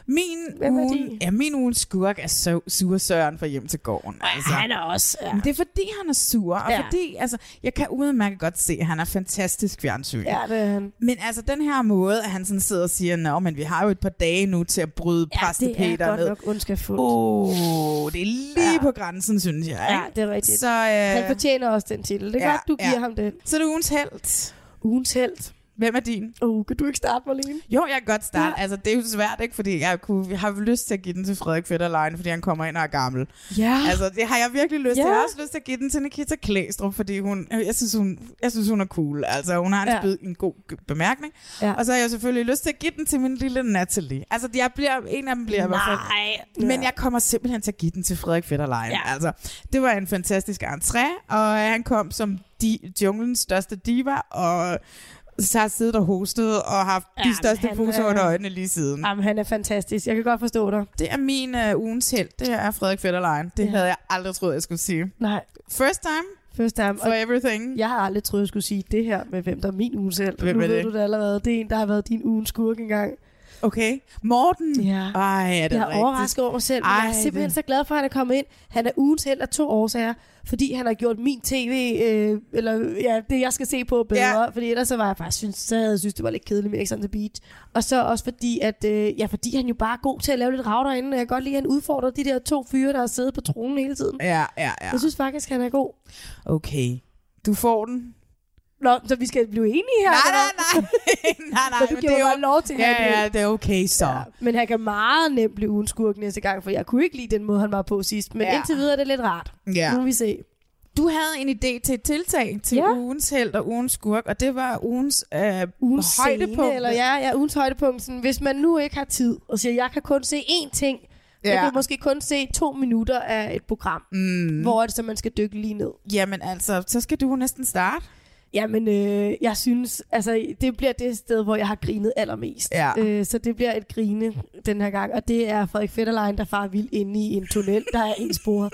S1: Min,
S2: Hvem er
S1: ugen, ja, min ugens skurk er så sur Søren fra hjem til gården. Altså.
S2: han er også, ja.
S1: Men Det er fordi, han er sur, og
S2: Ja.
S1: ja. fordi, altså, jeg kan udmærket godt se, at han er fantastisk fjernsyn.
S2: Ja, det er han.
S1: Men altså, den her måde, at han sådan sidder og siger, nå, men vi har jo et par dage nu til at bryde ja, præste
S2: det er
S1: Peter
S2: godt
S1: ned.
S2: nok ondskabfuldt.
S1: Oh, det er lige ja. på grænsen, synes jeg.
S2: Ja,
S1: ikke?
S2: det er rigtigt.
S1: Så, øh,
S2: Han fortjener også den titel. Det er ja,
S1: ja,
S2: godt, du giver
S1: ja.
S2: ham den.
S1: Så er det ugens held.
S2: Ugens held.
S1: Hvem er din?
S2: Uh, kan du ikke starte, Marlene?
S1: Jo, jeg kan godt starte. Ja. Altså, det er jo svært, ikke? Fordi jeg, kunne, jeg har jo lyst til at give den til Frederik Fetterlein, fordi han kommer ind og er gammel.
S2: Ja.
S1: Altså, det har jeg virkelig lyst ja. til.
S2: Ah. Ja.
S1: Jeg har også lyst til at give den til Nikita Klæstrup, fordi hun, øh, jeg, synes, hun, jeg synes, hun er cool. Altså, hun har en,
S2: Ja.
S1: ja. spid, en god g- bemærkning.
S2: Ja.
S1: Ja. Og så har jeg selvfølgelig lyst til at give den til min lille Natalie. Altså, jeg bliver, en af dem bliver i hvert fald...
S2: Nej.
S1: Men jeg kommer simpelthen til at give den til Frederik Fetterlein.
S2: Ja.
S1: Ja. Altså, det var en fantastisk entré, og øh, han kom som di- junglens største diva, og så har siddet og hostet og haft
S2: Jamen,
S1: de største
S2: han øh,
S1: poser
S2: er-
S1: under øjnene lige siden.
S2: Jamen, han er fantastisk. Jeg kan godt forstå dig.
S1: Det er min uh, ugens held, det er Frederik Fetterlein. Det
S2: Ja.
S1: ja. havde jeg aldrig troet, jeg skulle sige.
S2: Nej.
S1: First time
S2: First time.
S1: for everything.
S2: Jeg har aldrig troet, jeg skulle sige det her med, hvem der er min ugens held.
S1: Hvem
S2: nu
S1: er
S2: ved
S1: det?
S2: du det allerede. Det er en, der har været din ugens skurk engang.
S1: Okay. Morten. Ja. Ej, er det
S2: jeg er
S1: rigtigt?
S2: overrasket over mig selv, men jeg er
S1: Ej,
S2: simpelthen
S1: det-
S2: så glad for, at han er kommet ind. Han er ugens held af to årsager, fordi han har gjort min tv, øh, eller ja, det jeg skal se på bedre, ja. fordi ellers så var jeg faktisk, synes, så havde jeg synes, det var lidt kedeligt med X on the Beach. Og så også fordi, at øh, ja, fordi han jo bare er god til at lave lidt rav derinde, og jeg kan godt lide, at han udfordrer de der to fyre, der har siddet på tronen hele tiden.
S1: Ja, ja, ja.
S2: Jeg synes faktisk, han er god.
S1: Okay. Du får den.
S2: Nå, så vi skal blive enige her? Nej,
S1: nej.
S2: nej,
S1: nej, nej,
S2: men det er jo lov til at have
S1: Ja,
S2: det.
S1: ja, det er okay så. Ja.
S2: Men han kan meget nemt blive ugen skurk næste gang, for jeg kunne ikke lide den måde, han var på sidst. Men
S1: Ja.
S2: ja. indtil videre er det lidt rart.
S1: Ja.
S2: Nu må vi se.
S1: Du havde en idé til et tiltag til ja. ugens held og ugens skurk, og det var ugens, øh, ugens højdepunkt.
S2: Scene, eller ja, ja, ugens højdepunkt. Sådan, hvis man nu ikke har tid og siger, jeg kan kun se én ting, ja.
S1: Ja.
S2: jeg kan måske kun se to minutter af et program.
S1: Mm.
S2: Hvor er det så, man skal dykke lige ned?
S1: Jamen altså, så skal du næsten starte.
S2: Jamen, øh, jeg synes, altså, det bliver det sted, hvor jeg har grinet allermest.
S1: Ja.
S2: Øh, så det bliver et grine den her gang, og det er Frederik Fetterlein, der far vild inde i en tunnel, der er en spor,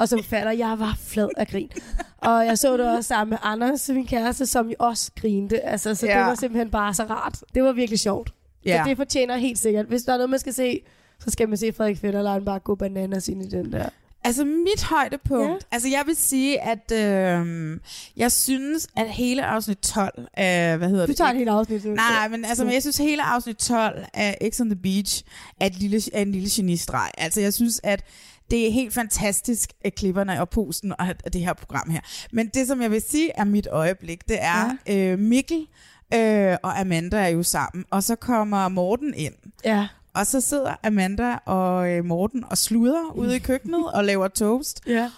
S2: og som fatter, jeg var flad af grin. Og jeg så det også sammen med Anders, min kæreste, som jo også grinte. Altså, så
S1: Ja.
S2: det var simpelthen bare så rart. Det var virkelig sjovt.
S1: Ja.
S2: Så det fortjener helt sikkert. Hvis der er noget, man skal se, så skal man se Frederik Fetterlein bare gå bananas ind i den der.
S1: Altså mit højdepunkt, ja. altså jeg vil sige, at øh, jeg synes, at hele afsnit 12, øh, hvad hedder
S2: Du
S1: det?
S2: tager et helt afsnit.
S1: Nej, nej, men altså, men jeg synes hele afsnit 12 af X on the Beach er, et lille, er en lille genistreg. Altså jeg synes, at det er helt fantastisk, at klipperne og posten og og det her program her. Men det, som jeg vil sige er mit øjeblik, det er ja. øh, Mikkel øh, og Amanda er jo sammen, og så kommer Morten ind.
S2: Ja.
S1: Og så sidder Amanda og øh, Morten og sluder ude i køkkenet og laver toast.
S2: Ja.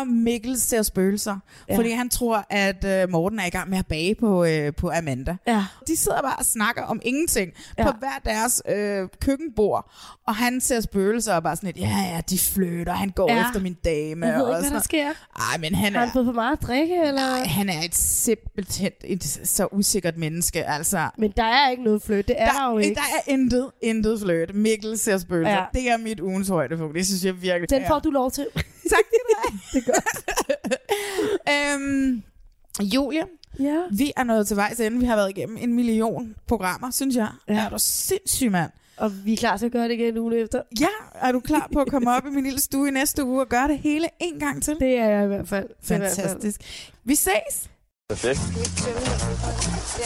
S1: Og Mikkel ser spøgelser, ja.
S2: Ja.
S1: fordi han tror, at øh, Morten er i gang med at bage på, øh, på Amanda.
S2: Ja.
S1: De sidder bare og snakker om ingenting ja. på hver deres øh, køkkenbord, og han ser spøgelser og bare sådan lidt, ja ja, de flytter, han går ja.
S2: Ja.
S1: efter min dame.
S2: Jeg ved
S1: og
S2: ikke, hvad
S1: sådan
S2: der sker.
S1: Ej, men han
S2: Har
S1: er...
S2: han fået for meget at drikke, eller? Nej,
S1: han er et simpelthen et så usikkert menneske, altså.
S2: Men der er ikke noget fløjt, det er der, jo ikke.
S1: Der er intet, intet fløjt. Mikkel ser spøgelser. Ja.
S2: Ja.
S1: Det er mit ugens højdepunkt, det synes jeg virkelig.
S2: Den
S1: er.
S2: får du lov til.
S1: Tak skal du have. Øhm, Julie,
S2: ja.
S1: vi er nået til vejs ende. Vi har været igennem en million programmer, synes jeg. Ja. Er du sindssyg, mand?
S2: Og vi er klar til at gøre det igen ugen efter.
S1: Ja, er du klar på at komme op i min lille stue i næste uge og gøre det hele en gang til?
S2: Det er jeg i hvert fald.
S1: Fantastisk. Vi ses.
S4: Perfekt.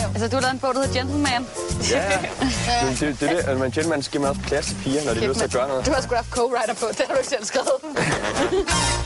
S22: Altså, du har lavet en bog, der hedder Gentleman.
S6: Ja, ja. det, det, det, er det, at man gentleman skal man også plads til piger, når de har lyst til at gøre noget.
S22: Du har sgu haft co-writer på, den har du ikke selv skrevet.